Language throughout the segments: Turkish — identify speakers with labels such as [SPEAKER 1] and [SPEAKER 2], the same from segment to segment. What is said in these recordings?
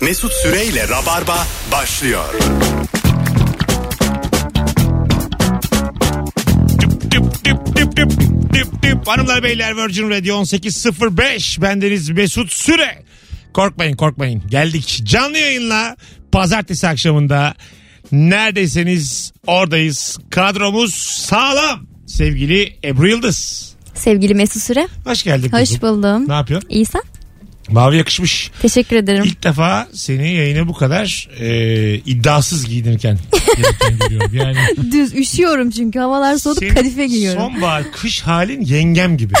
[SPEAKER 1] Mesut Süreyle Rabarba başlıyor.
[SPEAKER 2] Düp düp düp düp düp düp. Hanımlar beyler Virgin Radio 18.05 bendeniz Mesut Süre. Korkmayın korkmayın geldik canlı yayınla pazartesi akşamında neredeyseniz oradayız kadromuz sağlam sevgili Ebru Yıldız.
[SPEAKER 3] Sevgili Mesut Süre.
[SPEAKER 2] Hoş geldin kızım.
[SPEAKER 3] Hoş buldum.
[SPEAKER 2] Ne yapıyorsun?
[SPEAKER 3] İyi sen?
[SPEAKER 2] Mavi yakışmış.
[SPEAKER 3] Teşekkür ederim.
[SPEAKER 2] İlk defa seni yayına bu kadar e, iddiasız giyinirken gelirken görüyorum. Yani
[SPEAKER 3] Düz üşüyorum çünkü havalar soğudu
[SPEAKER 2] Senin
[SPEAKER 3] kadife giyiyorum.
[SPEAKER 2] Sonbahar kış halin yengem gibi.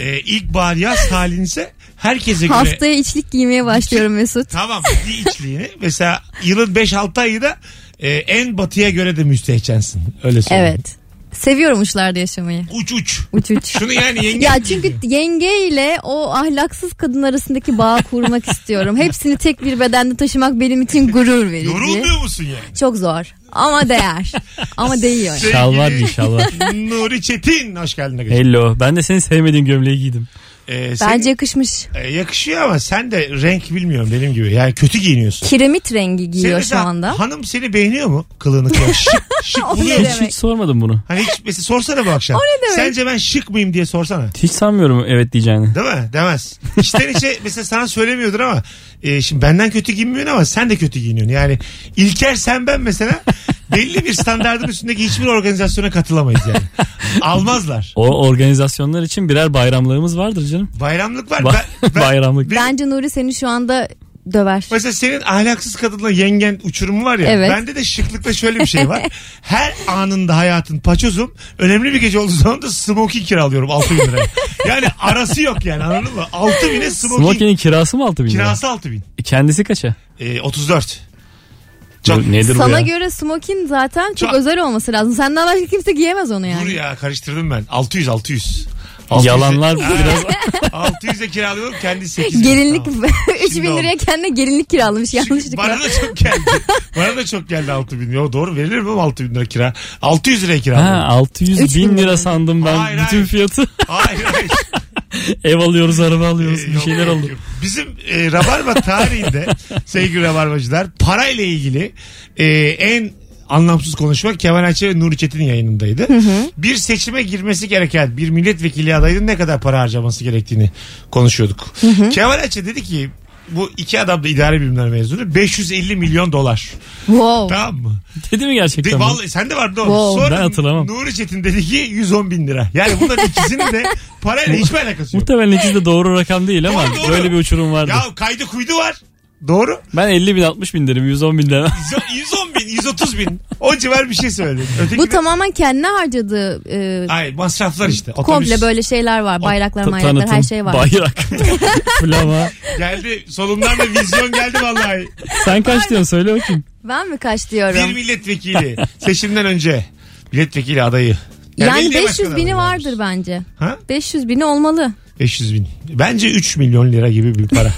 [SPEAKER 2] ee, ilkbahar yaz halinse herkese göre.
[SPEAKER 3] Haftaya içlik giymeye başlıyorum Mesut.
[SPEAKER 2] Tamam bir içliğini. Mesela yılın 5-6 ayı da e, en batıya göre de müstehcensin. Öyle söyleyeyim.
[SPEAKER 3] Evet. Seviyorum uçlarda yaşamayı.
[SPEAKER 2] Uç uç.
[SPEAKER 3] Uç uç.
[SPEAKER 2] Şunu yani yengem
[SPEAKER 3] ya çünkü yengeyle o ahlaksız kadın arasındaki bağ kurmak istiyorum. Hepsini tek bir bedende taşımak benim için gurur verici.
[SPEAKER 2] Yorulmuyor musun yani?
[SPEAKER 3] Çok zor ama değer. Ama değiyor.
[SPEAKER 2] Sevgili
[SPEAKER 4] Şalvar mı şalvar?
[SPEAKER 2] Nuri Çetin hoş geldin. arkadaşım.
[SPEAKER 4] Hello. Ben de senin sevmediğin gömleği giydim.
[SPEAKER 2] Ee, senin,
[SPEAKER 3] Bence yakışmış.
[SPEAKER 2] e, yakışıyor ama sen de renk bilmiyorum benim gibi. Yani kötü giyiniyorsun.
[SPEAKER 3] Kiremit rengi
[SPEAKER 2] Senin
[SPEAKER 3] giyiyor şu
[SPEAKER 2] mesela
[SPEAKER 3] anda.
[SPEAKER 2] Hanım seni beğeniyor mu? Kılığını kıyafetini. Şık, şık
[SPEAKER 3] O
[SPEAKER 2] buluyor
[SPEAKER 3] ne
[SPEAKER 2] musun?
[SPEAKER 4] Hiç,
[SPEAKER 3] demek?
[SPEAKER 4] hiç sormadım bunu.
[SPEAKER 2] Hani hiç mesela sorsana bu akşam. Sence ben şık mıyım diye sorsana.
[SPEAKER 4] Hiç sanmıyorum evet diyeceğini.
[SPEAKER 2] Değil mi? Demez. İçten içe mesela sana söylemiyordur ama e, şimdi benden kötü giyinmiyorsun ama sen de kötü giyiniyorsun. Yani İlker sen ben mesela belli bir standardın üstündeki hiçbir organizasyona katılamayız yani. Almazlar.
[SPEAKER 4] O organizasyonlar için birer bayramlığımız vardır canım.
[SPEAKER 2] Bayramlık var.
[SPEAKER 4] Ba-
[SPEAKER 2] Ben- ben-
[SPEAKER 4] Bayramlık.
[SPEAKER 3] Bence Nuri seni şu anda döver.
[SPEAKER 2] Mesela senin ahlaksız kadınla yengen uçurumu var ya.
[SPEAKER 3] Evet.
[SPEAKER 2] Bende de şıklıkta şöyle bir şey var. Her anında hayatın paçozum. Önemli bir gece olduğu zaman da smoking kiralıyorum 6 bin liraya. Yani arası yok yani anladın mı? 6 bine smoking,
[SPEAKER 4] Smoking'in kirası mı 6 bin lira?
[SPEAKER 2] kirası 6 bin.
[SPEAKER 4] Kendisi kaça?
[SPEAKER 2] Ee, 34. Çok-
[SPEAKER 4] Bu Nedir bu
[SPEAKER 3] Sana
[SPEAKER 4] ya?
[SPEAKER 3] göre smokin zaten çok
[SPEAKER 2] Çok-
[SPEAKER 3] özel olması lazım. Senden başka kimse giyemez onu
[SPEAKER 2] Dur
[SPEAKER 3] yani.
[SPEAKER 2] ya karıştırdım ben. 600 600.
[SPEAKER 4] Yalanlar biraz
[SPEAKER 2] 600'e kiralıyorum kendi 8.
[SPEAKER 3] Gelinlik
[SPEAKER 2] Tamam.
[SPEAKER 3] 3000
[SPEAKER 2] oldu.
[SPEAKER 3] liraya kendine gelinlik kiralamış yanlışlıkla.
[SPEAKER 2] Bana da çok geldi. Bana da çok geldi 6 bin. Yo, doğru verilir mi 6 bin lira kira? 600 liraya
[SPEAKER 4] ha,
[SPEAKER 2] kiralıyorum.
[SPEAKER 4] 600
[SPEAKER 3] Üç bin
[SPEAKER 4] bin
[SPEAKER 3] lira.
[SPEAKER 4] lira sandım ben.
[SPEAKER 2] Hayır,
[SPEAKER 4] Bütün
[SPEAKER 2] hayır.
[SPEAKER 4] fiyatı
[SPEAKER 2] Hayır hayır.
[SPEAKER 4] ev alıyoruz araba alıyoruz
[SPEAKER 2] Ee,
[SPEAKER 4] bir
[SPEAKER 2] yok,
[SPEAKER 4] şeyler
[SPEAKER 2] yok,
[SPEAKER 4] aldık.
[SPEAKER 2] yok. Bizim e, Rabarba tarihinde sevgili Rabarbacılar parayla ilgili e, en anlamsız konuşma Kemal Ayça ve Nuri Çetin yayınındaydı. Bir seçime girmesi gereken bir milletvekili adayının ne kadar para harcaması gerektiğini konuşuyorduk. Kemal Ayça dedi ki bu iki adam da idare bilimler mezunu 550 milyon dolar.
[SPEAKER 3] Wow.
[SPEAKER 2] Tamam mı?
[SPEAKER 4] Dedi mi
[SPEAKER 2] De,
[SPEAKER 4] gerçekten? bu?
[SPEAKER 2] Vallahi sen de vardı o.
[SPEAKER 3] Wow.
[SPEAKER 2] Sonra
[SPEAKER 4] Ben hatırlamam.
[SPEAKER 2] Nuri Çetin dedi ki 110 bin lira. Yani bunların ikisinin de parayla hiçbir alakası yok.
[SPEAKER 4] Muhtemelen ikisi de doğru rakam değil ama
[SPEAKER 2] Doğru, doğru.
[SPEAKER 4] böyle bir uçurum vardı.
[SPEAKER 2] Ya kaydı kuydu var. Doğru.
[SPEAKER 4] Ben 50 bin 60 bin derim 110 bin demem.
[SPEAKER 2] 110 bin, 130 bin. O civar bir şey söyledim. Öteki
[SPEAKER 3] Bu tamamen kendine harcadığı e,
[SPEAKER 2] Ay masraflar işte. Otobüs
[SPEAKER 3] komple böyle şeyler var. Bayraklar, bayraklar her
[SPEAKER 4] Tanıtım,
[SPEAKER 3] şey var.
[SPEAKER 4] Bayrak. Flama.
[SPEAKER 2] Geldi solumdan da vizyon geldi vallahi.
[SPEAKER 4] Sen kaç diyorsun söyle bakayım.
[SPEAKER 3] ben mi
[SPEAKER 2] Bir
[SPEAKER 3] kaçlıyorum?
[SPEAKER 2] milletvekili seçimden önce milletvekili adayı.
[SPEAKER 3] Yani
[SPEAKER 2] belediye
[SPEAKER 3] 500
[SPEAKER 2] başkanı
[SPEAKER 3] bini
[SPEAKER 2] adayı
[SPEAKER 3] vardır
[SPEAKER 2] varmış.
[SPEAKER 3] bence.
[SPEAKER 2] Ha?
[SPEAKER 3] 500 bini olmalı.
[SPEAKER 2] 500 bin. Bence 3 milyon lira gibi bir para.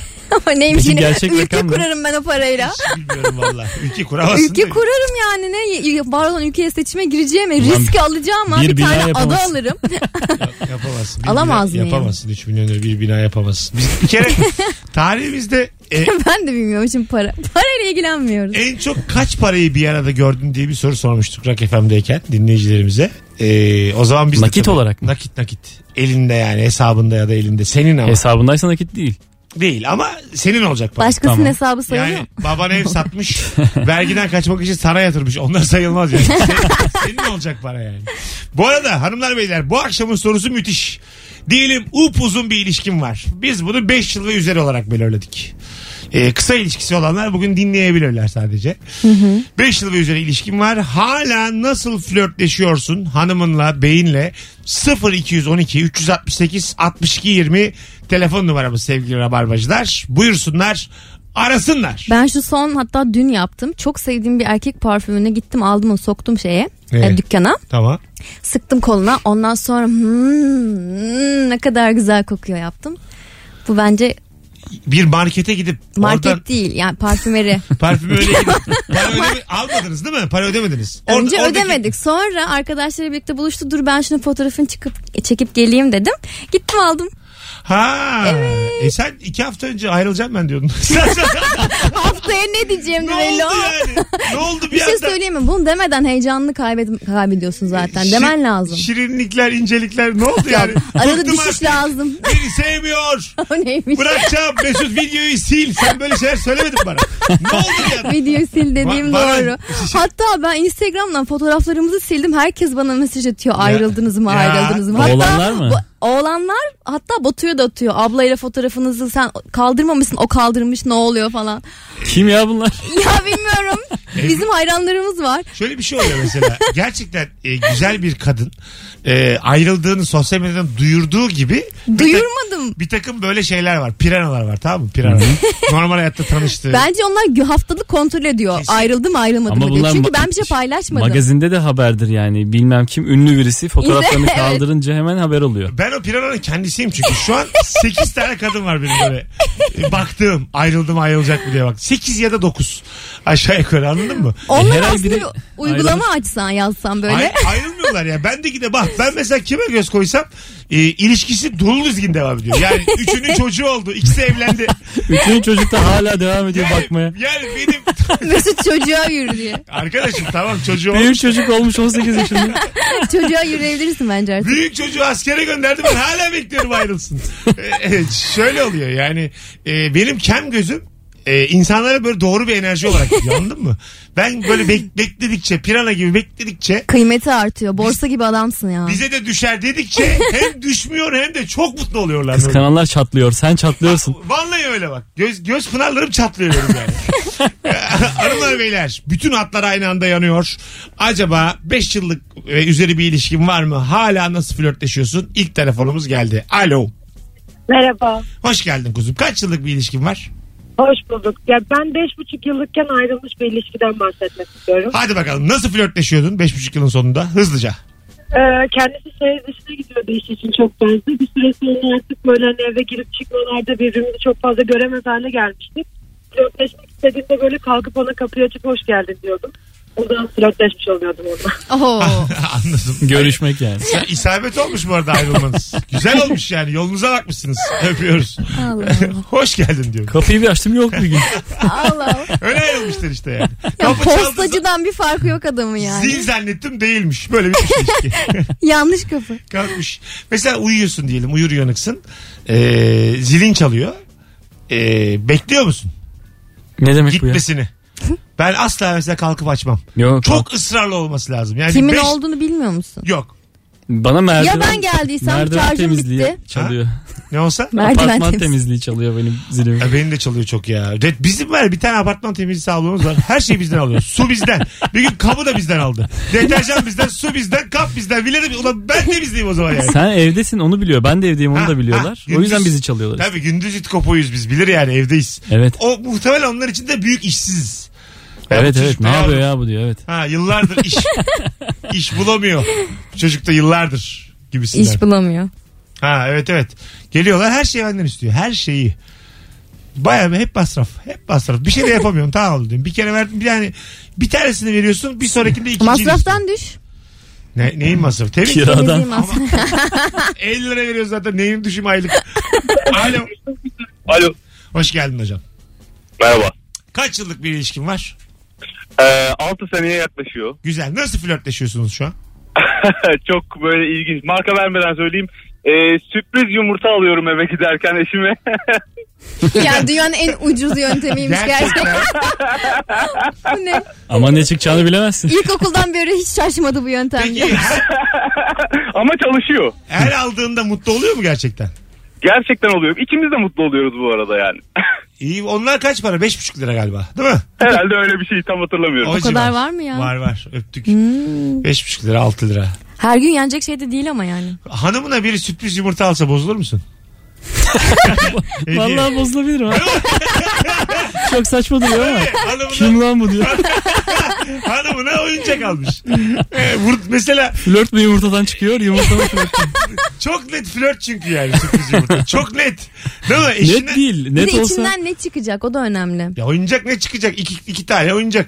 [SPEAKER 3] Ama neymiş
[SPEAKER 4] Peki
[SPEAKER 3] yine
[SPEAKER 4] gerçek
[SPEAKER 3] ülke
[SPEAKER 4] rakam ne?
[SPEAKER 3] kurarım ben o parayla.
[SPEAKER 2] Hiç Bilmiyorum valla. Ülke kuramazsın.
[SPEAKER 3] Ülke
[SPEAKER 2] da.
[SPEAKER 3] kurarım yani ne var olan ülkeye seçime gireceğim
[SPEAKER 4] Ulan
[SPEAKER 3] riski alacağım ama
[SPEAKER 4] bir
[SPEAKER 3] bir
[SPEAKER 4] bina
[SPEAKER 3] tane ada
[SPEAKER 4] yapamazsın.
[SPEAKER 3] alırım.
[SPEAKER 2] Yapamazsın. Bir
[SPEAKER 3] Alamaz
[SPEAKER 2] bina-
[SPEAKER 3] mıyım?
[SPEAKER 2] Yapamazsın. 3 milyon lira bir bina yapamazsın. Biz bir kere tarihimizde e,
[SPEAKER 3] ben de bilmiyorum şimdi para. Parayla ilgilenmiyoruz.
[SPEAKER 2] En çok kaç parayı bir arada gördün diye bir soru sormuştuk Rock FM'deyken dinleyicilerimize. Ee, o zaman biz de
[SPEAKER 4] Nakit
[SPEAKER 2] tabii-
[SPEAKER 4] olarak mı?
[SPEAKER 2] Nakit nakit. Elinde yani hesabında ya da elinde. Senin ama.
[SPEAKER 4] Hesabındaysa nakit değil.
[SPEAKER 2] Değil ama senin olacak para.
[SPEAKER 3] Başkasının
[SPEAKER 4] Tamam.
[SPEAKER 3] hesabı sayılır
[SPEAKER 2] yani
[SPEAKER 3] mı?
[SPEAKER 2] baban ev satmış vergiden kaçmak için sana yatırmış onlar sayılmaz yani Senin- senin olacak para yani bu arada hanımlar beyler bu akşamın sorusu müthiş diyelim upuzun bir ilişkin var biz bunu 5 yıl ve üzeri olarak belirledik Ee, kısa ilişkisi olanlar bugün dinleyebilirler sadece 5 yıl ve üzeri ilişkin var hala nasıl flörtleşiyorsun hanımınla beyinle 0212 368 62 20 telefon numaramız sevgili rabarbacılar buyursunlar arasınlar
[SPEAKER 3] Ben şu son hatta dün yaptım. Çok sevdiğim bir erkek parfümüne gittim aldım onu soktum şeye
[SPEAKER 2] Ee?
[SPEAKER 3] e, dükkana.
[SPEAKER 2] Tamam.
[SPEAKER 3] Sıktım koluna ondan sonra "Hmm, hmm, ne kadar güzel kokuyor yaptım. Bu bence
[SPEAKER 2] Bir markete gidip
[SPEAKER 3] market
[SPEAKER 2] oradan
[SPEAKER 3] değil yani parfümeri.
[SPEAKER 2] parfümü öyle gidip para ödeme, almadınız değil mi? Para ödemediniz. Orada-
[SPEAKER 3] Önce
[SPEAKER 2] oradaki-
[SPEAKER 3] ödemedik. Sonra arkadaşlarıyla birlikte buluştu. Dur ben şunun fotoğrafını çıkıp çekip geleyim dedim. Gittim aldım.
[SPEAKER 2] Ha. E sen iki hafta önce ayrılacağım ben diyordun.
[SPEAKER 3] Buraya ne diyeceğim
[SPEAKER 2] Ne
[SPEAKER 3] belli
[SPEAKER 2] oldu
[SPEAKER 3] olmaz.
[SPEAKER 2] yani? Ne oldu bir,
[SPEAKER 3] Bir şey
[SPEAKER 2] anda?
[SPEAKER 3] söyleyeyim mi? Bunu demeden heyecanını kaybed- kaybediyorsun zaten. Demen
[SPEAKER 2] Şir-
[SPEAKER 3] lazım.
[SPEAKER 2] Şirinlikler, incelikler ne oldu yani?
[SPEAKER 3] Arada
[SPEAKER 2] Bıktım
[SPEAKER 3] düşüş
[SPEAKER 2] artık.
[SPEAKER 3] lazım.
[SPEAKER 2] Beni sevmiyor.
[SPEAKER 3] o neymiş?
[SPEAKER 2] Bırakacağım. Mesut videoyu sil. Sen böyle şeyler söylemedin bana. Ne oldu ya?
[SPEAKER 3] Videoyu sil dediğim
[SPEAKER 2] Va- var-
[SPEAKER 3] doğru.
[SPEAKER 2] şey-
[SPEAKER 3] Hatta ben Instagram'dan fotoğraflarımızı sildim. Herkes bana mesaj atıyor. Ayrıldınız mı?
[SPEAKER 2] Ya.
[SPEAKER 3] Ayrıldınız mı? Hatta
[SPEAKER 4] Oğlanlar mı?
[SPEAKER 3] bu- oğlanlar hatta Batu'ya da atıyor. Ablayla fotoğrafınızı sen kaldırmamışsın. O kaldırmış ne oluyor falan.
[SPEAKER 4] Kim ya bunlar?
[SPEAKER 3] ya bilmiyorum. Bizim hayranlarımız var.
[SPEAKER 2] Şöyle bir şey oluyor mesela. Gerçekten e, güzel bir kadın e, ayrıldığını sosyal medyadan duyurduğu gibi bir, ta-
[SPEAKER 3] Duyurmadım.
[SPEAKER 2] bir takım böyle şeyler var. Piranalar var tamam mı? Piranalar. Normal hayatta tanıştığı.
[SPEAKER 3] Bence onlar gö- haftalık kontrol ediyor.
[SPEAKER 2] Kesin.
[SPEAKER 3] Ayrıldı mı ayrılmadı
[SPEAKER 4] Ama
[SPEAKER 3] mı diye.
[SPEAKER 4] bunlar
[SPEAKER 3] Çünkü
[SPEAKER 4] ma-
[SPEAKER 3] ben bir şey paylaşmadım.
[SPEAKER 4] Magazinde de haberdir yani. Bilmem kim ünlü birisi fotoğraflarını
[SPEAKER 3] Evet.
[SPEAKER 4] kaldırınca hemen haber oluyor.
[SPEAKER 2] Ben o pirananın kendisiyim çünkü. Şu an 8 tane kadın var benim böyle. E, Baktığım ayrıldım ayrılacak mı diye bak. 8 ya da 9. Aşağı yukarı anladın mı?
[SPEAKER 3] Onlar
[SPEAKER 4] Herhalde
[SPEAKER 3] aslında
[SPEAKER 4] biri-
[SPEAKER 3] bir uygulama açsan yazsan böyle.
[SPEAKER 2] Ay- ayrılmıyorlar ya. Ben de gide bak ben mesela kime göz koysam e, ilişkisi dolu düzgün devam ediyor. Yani üçünün çocuğu oldu. ikisi evlendi.
[SPEAKER 4] Bütün çocuk da hala devam ediyor bakmaya.
[SPEAKER 2] Yani benim
[SPEAKER 3] Mesut çocuğa yürü diye.
[SPEAKER 2] arkadaşım tamam çocuğu oldu.
[SPEAKER 4] Büyük çocuk olmuş 18 yaşında.
[SPEAKER 3] çocuğa yürüyebilirsin bence artık.
[SPEAKER 2] Büyük çocuğu askere gönderdim ben hala bekliyorum ayrılsın. Ee, şöyle oluyor yani e, benim kem gözüm e, insanlara böyle doğru bir enerji olarak gidiyor anladın mı? Ben böyle bek- bekledikçe pirana gibi bekledikçe
[SPEAKER 3] Kıymeti artıyor. Borsa gibi adamsın ya.
[SPEAKER 2] bize de düşer dedikçe hem düşmüyor hem de çok mutlu oluyorlar. böyle.
[SPEAKER 4] Kıskananlar çatlıyor. Sen çatlıyorsun.
[SPEAKER 2] Vallahi öyle bak. Göz, göz pınarlarım çatlıyor benim yani. Hanımlar beyler bütün hatlar aynı anda yanıyor. Acaba 5 yıllık e, üzeri bir ilişkin var mı? Hala nasıl flörtleşiyorsun? İlk telefonumuz geldi. Alo.
[SPEAKER 5] Merhaba.
[SPEAKER 2] Hoş geldin kuzum. Kaç yıllık bir ilişkin var?
[SPEAKER 5] Hoş bulduk. Ya ben beş buçuk yıllıkken ayrılmış bir ilişkiden bahsetmek istiyorum.
[SPEAKER 2] Hadi bakalım nasıl flörtleşiyordun 5,5 yılın sonunda? Hızlıca.
[SPEAKER 5] Ee, kendisi şehir dışına gidiyordu iş için çok fazla. Bir süre sonra artık böyle hani eve girip çıkmalarda birbirimizi çok fazla göremez hale gelmiştik. Flörtleşmek istediğimde böyle kalkıp ona kapıyı açıp hoş geldin diyordum. O zaman flörtleşmiş oluyordum onunla.
[SPEAKER 3] Oho.
[SPEAKER 2] Anladım.
[SPEAKER 4] Görüşmek yani.
[SPEAKER 2] Ya, İsabet olmuş bu arada ayrılmanız. Güzel olmuş yani. Yolunuza bakmışsınız. Öpüyoruz.
[SPEAKER 3] Allah Allah.
[SPEAKER 2] Hoş geldin diyorum.
[SPEAKER 4] Kapıyı bir açtım yok bir gün.
[SPEAKER 3] Allah.
[SPEAKER 2] Öyle ayrılmışlar işte yani.
[SPEAKER 3] Ya
[SPEAKER 2] Kapı çaldı.
[SPEAKER 3] postacıdan bir farkı yok adamın yani.
[SPEAKER 2] Zil zannettim değilmiş. Böyle bir şey.
[SPEAKER 3] Yanlış kapı.
[SPEAKER 2] Kalkmış. Mesela uyuyorsun diyelim. Uyur uyanıksın. Ee, zilin çalıyor. Ee, bekliyor musun?
[SPEAKER 4] Ne demek bu ya?
[SPEAKER 2] Gitmesini. Ben asla mesela kalkıp açmam.
[SPEAKER 4] Yok.
[SPEAKER 2] Çok ısrarlı olması lazım. Yani
[SPEAKER 3] Kimin
[SPEAKER 2] beş-
[SPEAKER 3] olduğunu bilmiyor musun?
[SPEAKER 2] Yok.
[SPEAKER 4] Bana merdiven.
[SPEAKER 3] Ya ben geldiysem
[SPEAKER 4] merdiven
[SPEAKER 3] şarjım
[SPEAKER 4] temizliği
[SPEAKER 3] bitti.
[SPEAKER 4] Çalıyor.
[SPEAKER 2] Ne olsa?
[SPEAKER 3] Merdiven
[SPEAKER 4] Apartman
[SPEAKER 3] temiz.
[SPEAKER 4] temizliği çalıyor benim zilimi.
[SPEAKER 2] Ya benim de çalıyor çok ya. Evet, Bizim var bir tane apartman temizliği ablamız var. Her şeyi bizden alıyor. Su bizden. Bir gün kabı da bizden aldı. Deterjan bizden, su bizden, kap bizden. Bilerim. Ulan ben temizleyeyim o zaman yani.
[SPEAKER 4] Sen evdesin onu biliyor. Ben de evdeyim onu
[SPEAKER 2] Ha,
[SPEAKER 4] da biliyorlar.
[SPEAKER 2] ha,
[SPEAKER 4] o yüzden
[SPEAKER 2] gündüz-
[SPEAKER 4] bizi çalıyorlar.
[SPEAKER 2] Tabii gündüz it kopuyuz biz. Bilir yani evdeyiz.
[SPEAKER 4] Evet.
[SPEAKER 2] O muhtemelen onlar için de büyük işsiz. Ya
[SPEAKER 4] Evet
[SPEAKER 2] bu
[SPEAKER 4] evet
[SPEAKER 2] çocuk
[SPEAKER 4] ne
[SPEAKER 2] bayağı-
[SPEAKER 4] yapıyor ya bu diyor evet.
[SPEAKER 2] Ha yıllardır iş iş bulamıyor. Çocuk da yıllardır gibisinden.
[SPEAKER 3] İş bulamıyor.
[SPEAKER 2] ha evet evet. Geliyorlar her şeyi benden istiyor. Her şeyi. Bayağı bir hep masraf. Hep masraf. Bir şey de yapamıyorum. tamam oldu diyorum. Bir kere verdim. Bir tane bir tanesini veriyorsun. Bir sonrakinde ikinciyi istiyor.
[SPEAKER 3] Masraftan düş.
[SPEAKER 2] Ne, neyin masrafı? Tabii ki.
[SPEAKER 4] Kira. Adam-
[SPEAKER 3] Temizliği masraf.
[SPEAKER 2] 50 lira veriyoruz zaten. Neyin düşüm aylık. Alo.
[SPEAKER 6] Alo.
[SPEAKER 2] Hoş geldin hocam.
[SPEAKER 6] Merhaba.
[SPEAKER 2] Kaç yıllık bir ilişkin var?
[SPEAKER 6] Ee, 6 seneye yaklaşıyor.
[SPEAKER 2] Güzel. Nasıl flörtleşiyorsunuz şu an?
[SPEAKER 6] Çok böyle ilginç. Marka vermeden söyleyeyim. Ee, sürpriz yumurta alıyorum eve giderken eşime.
[SPEAKER 3] yani dünyanın en ucuz yöntemiymiş gerçekten. Bu ne?
[SPEAKER 4] Ama ne çıkacağını bilemezsin.
[SPEAKER 3] İlkokuldan beri hiç şaşmadı bu yöntemle.
[SPEAKER 2] Peki her,
[SPEAKER 6] Ama çalışıyor.
[SPEAKER 2] her aldığında mutlu oluyor mu gerçekten?
[SPEAKER 6] Gerçekten oluyor. İkimiz de mutlu oluyoruz bu arada yani.
[SPEAKER 2] İyi onlar kaç para? 5,5 lira galiba değil mi?
[SPEAKER 6] Herhalde öyle bir şey tam hatırlamıyorum.
[SPEAKER 3] O kadar var mı ya? Hmm.
[SPEAKER 2] Var var öptük. 5,5 lira 6 lira.
[SPEAKER 3] Her gün yenecek şey de değil ama yani.
[SPEAKER 2] Hanımına biri sürpriz yumurta alsa bozulur musun? Hediye.
[SPEAKER 4] Vallahi bozulabilirim ha. Çok saçma duruyor ama. Kim
[SPEAKER 2] hanımına,
[SPEAKER 4] lan bu diyor.
[SPEAKER 2] hanımına oyuncak almış. Ee, vur- mesela
[SPEAKER 4] Flört mü yumurtadan çıkıyor yumurta mı flörtten?
[SPEAKER 2] Çok net flört çünkü yani sürpriz yumurta. Çok net. Değil mi?
[SPEAKER 4] Net
[SPEAKER 2] Eşine-
[SPEAKER 4] değil.
[SPEAKER 3] Bir
[SPEAKER 4] Net
[SPEAKER 3] de
[SPEAKER 4] olsa
[SPEAKER 3] içinden ne çıkacak o da önemli.
[SPEAKER 2] Ya oyuncak ne çıkacak? İki, iki tane oyuncak.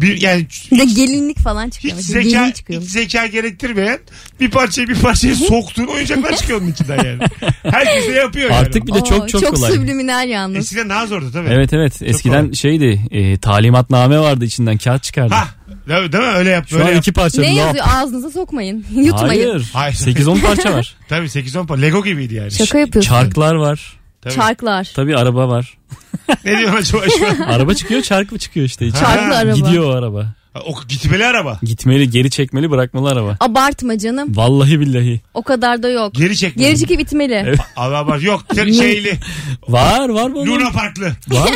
[SPEAKER 2] Bir yani
[SPEAKER 3] Bir de gelinlik falan çıkıyor.
[SPEAKER 2] hiç
[SPEAKER 3] Mesela gelin
[SPEAKER 2] zeka,
[SPEAKER 3] çıkıyor.
[SPEAKER 2] hiç zeka gerektirmeyen bir parçayı bir parçaya soktuğun oyuncaklar çıkıyor onun içinden yani. Herkes de yapıyor yani.
[SPEAKER 4] artık bir de
[SPEAKER 3] Oo,
[SPEAKER 4] çok çok kolay.
[SPEAKER 3] subliminal yalnız.
[SPEAKER 2] Eskiden daha zordu tabii.
[SPEAKER 4] Evet evet eskiden
[SPEAKER 2] kolay.
[SPEAKER 4] şeydi e, talimatname vardı içinden kağıt çıkardı.
[SPEAKER 2] Ha, değil, değil mi? Öyle yap.
[SPEAKER 4] Şu
[SPEAKER 2] böyle
[SPEAKER 4] an
[SPEAKER 2] yap.
[SPEAKER 4] iki parça.
[SPEAKER 3] Ne
[SPEAKER 4] lap.
[SPEAKER 3] yazıyor ağzınıza sokmayın. Yutmayın.
[SPEAKER 4] Hayır.
[SPEAKER 2] Hayır.
[SPEAKER 4] 8-10 parça var.
[SPEAKER 2] Tabii 8-10 para. Lego gibiydi yani.
[SPEAKER 3] Şaka yapıyorsun.
[SPEAKER 4] Çarklar var.
[SPEAKER 2] Tabii.
[SPEAKER 3] Çarklar.
[SPEAKER 4] Tabii araba var.
[SPEAKER 2] Ne diyorum acaba şu an?
[SPEAKER 4] Araba çıkıyor çark mı çıkıyor işte. içi.
[SPEAKER 2] Ha.
[SPEAKER 3] Çarklı araba.
[SPEAKER 4] Gidiyor o araba.
[SPEAKER 2] O gitmeli araba.
[SPEAKER 4] Gitmeli geri çekmeli bırakmalı araba.
[SPEAKER 3] Abartma canım.
[SPEAKER 4] Vallahi billahi.
[SPEAKER 3] O kadar da yok.
[SPEAKER 2] Geri çekmeli.
[SPEAKER 3] Geri çekip bitmeli.
[SPEAKER 4] Evet.
[SPEAKER 2] Allah var. Yok tek şeyli.
[SPEAKER 4] Var var bunun.
[SPEAKER 2] Luna Parklı.
[SPEAKER 4] Var.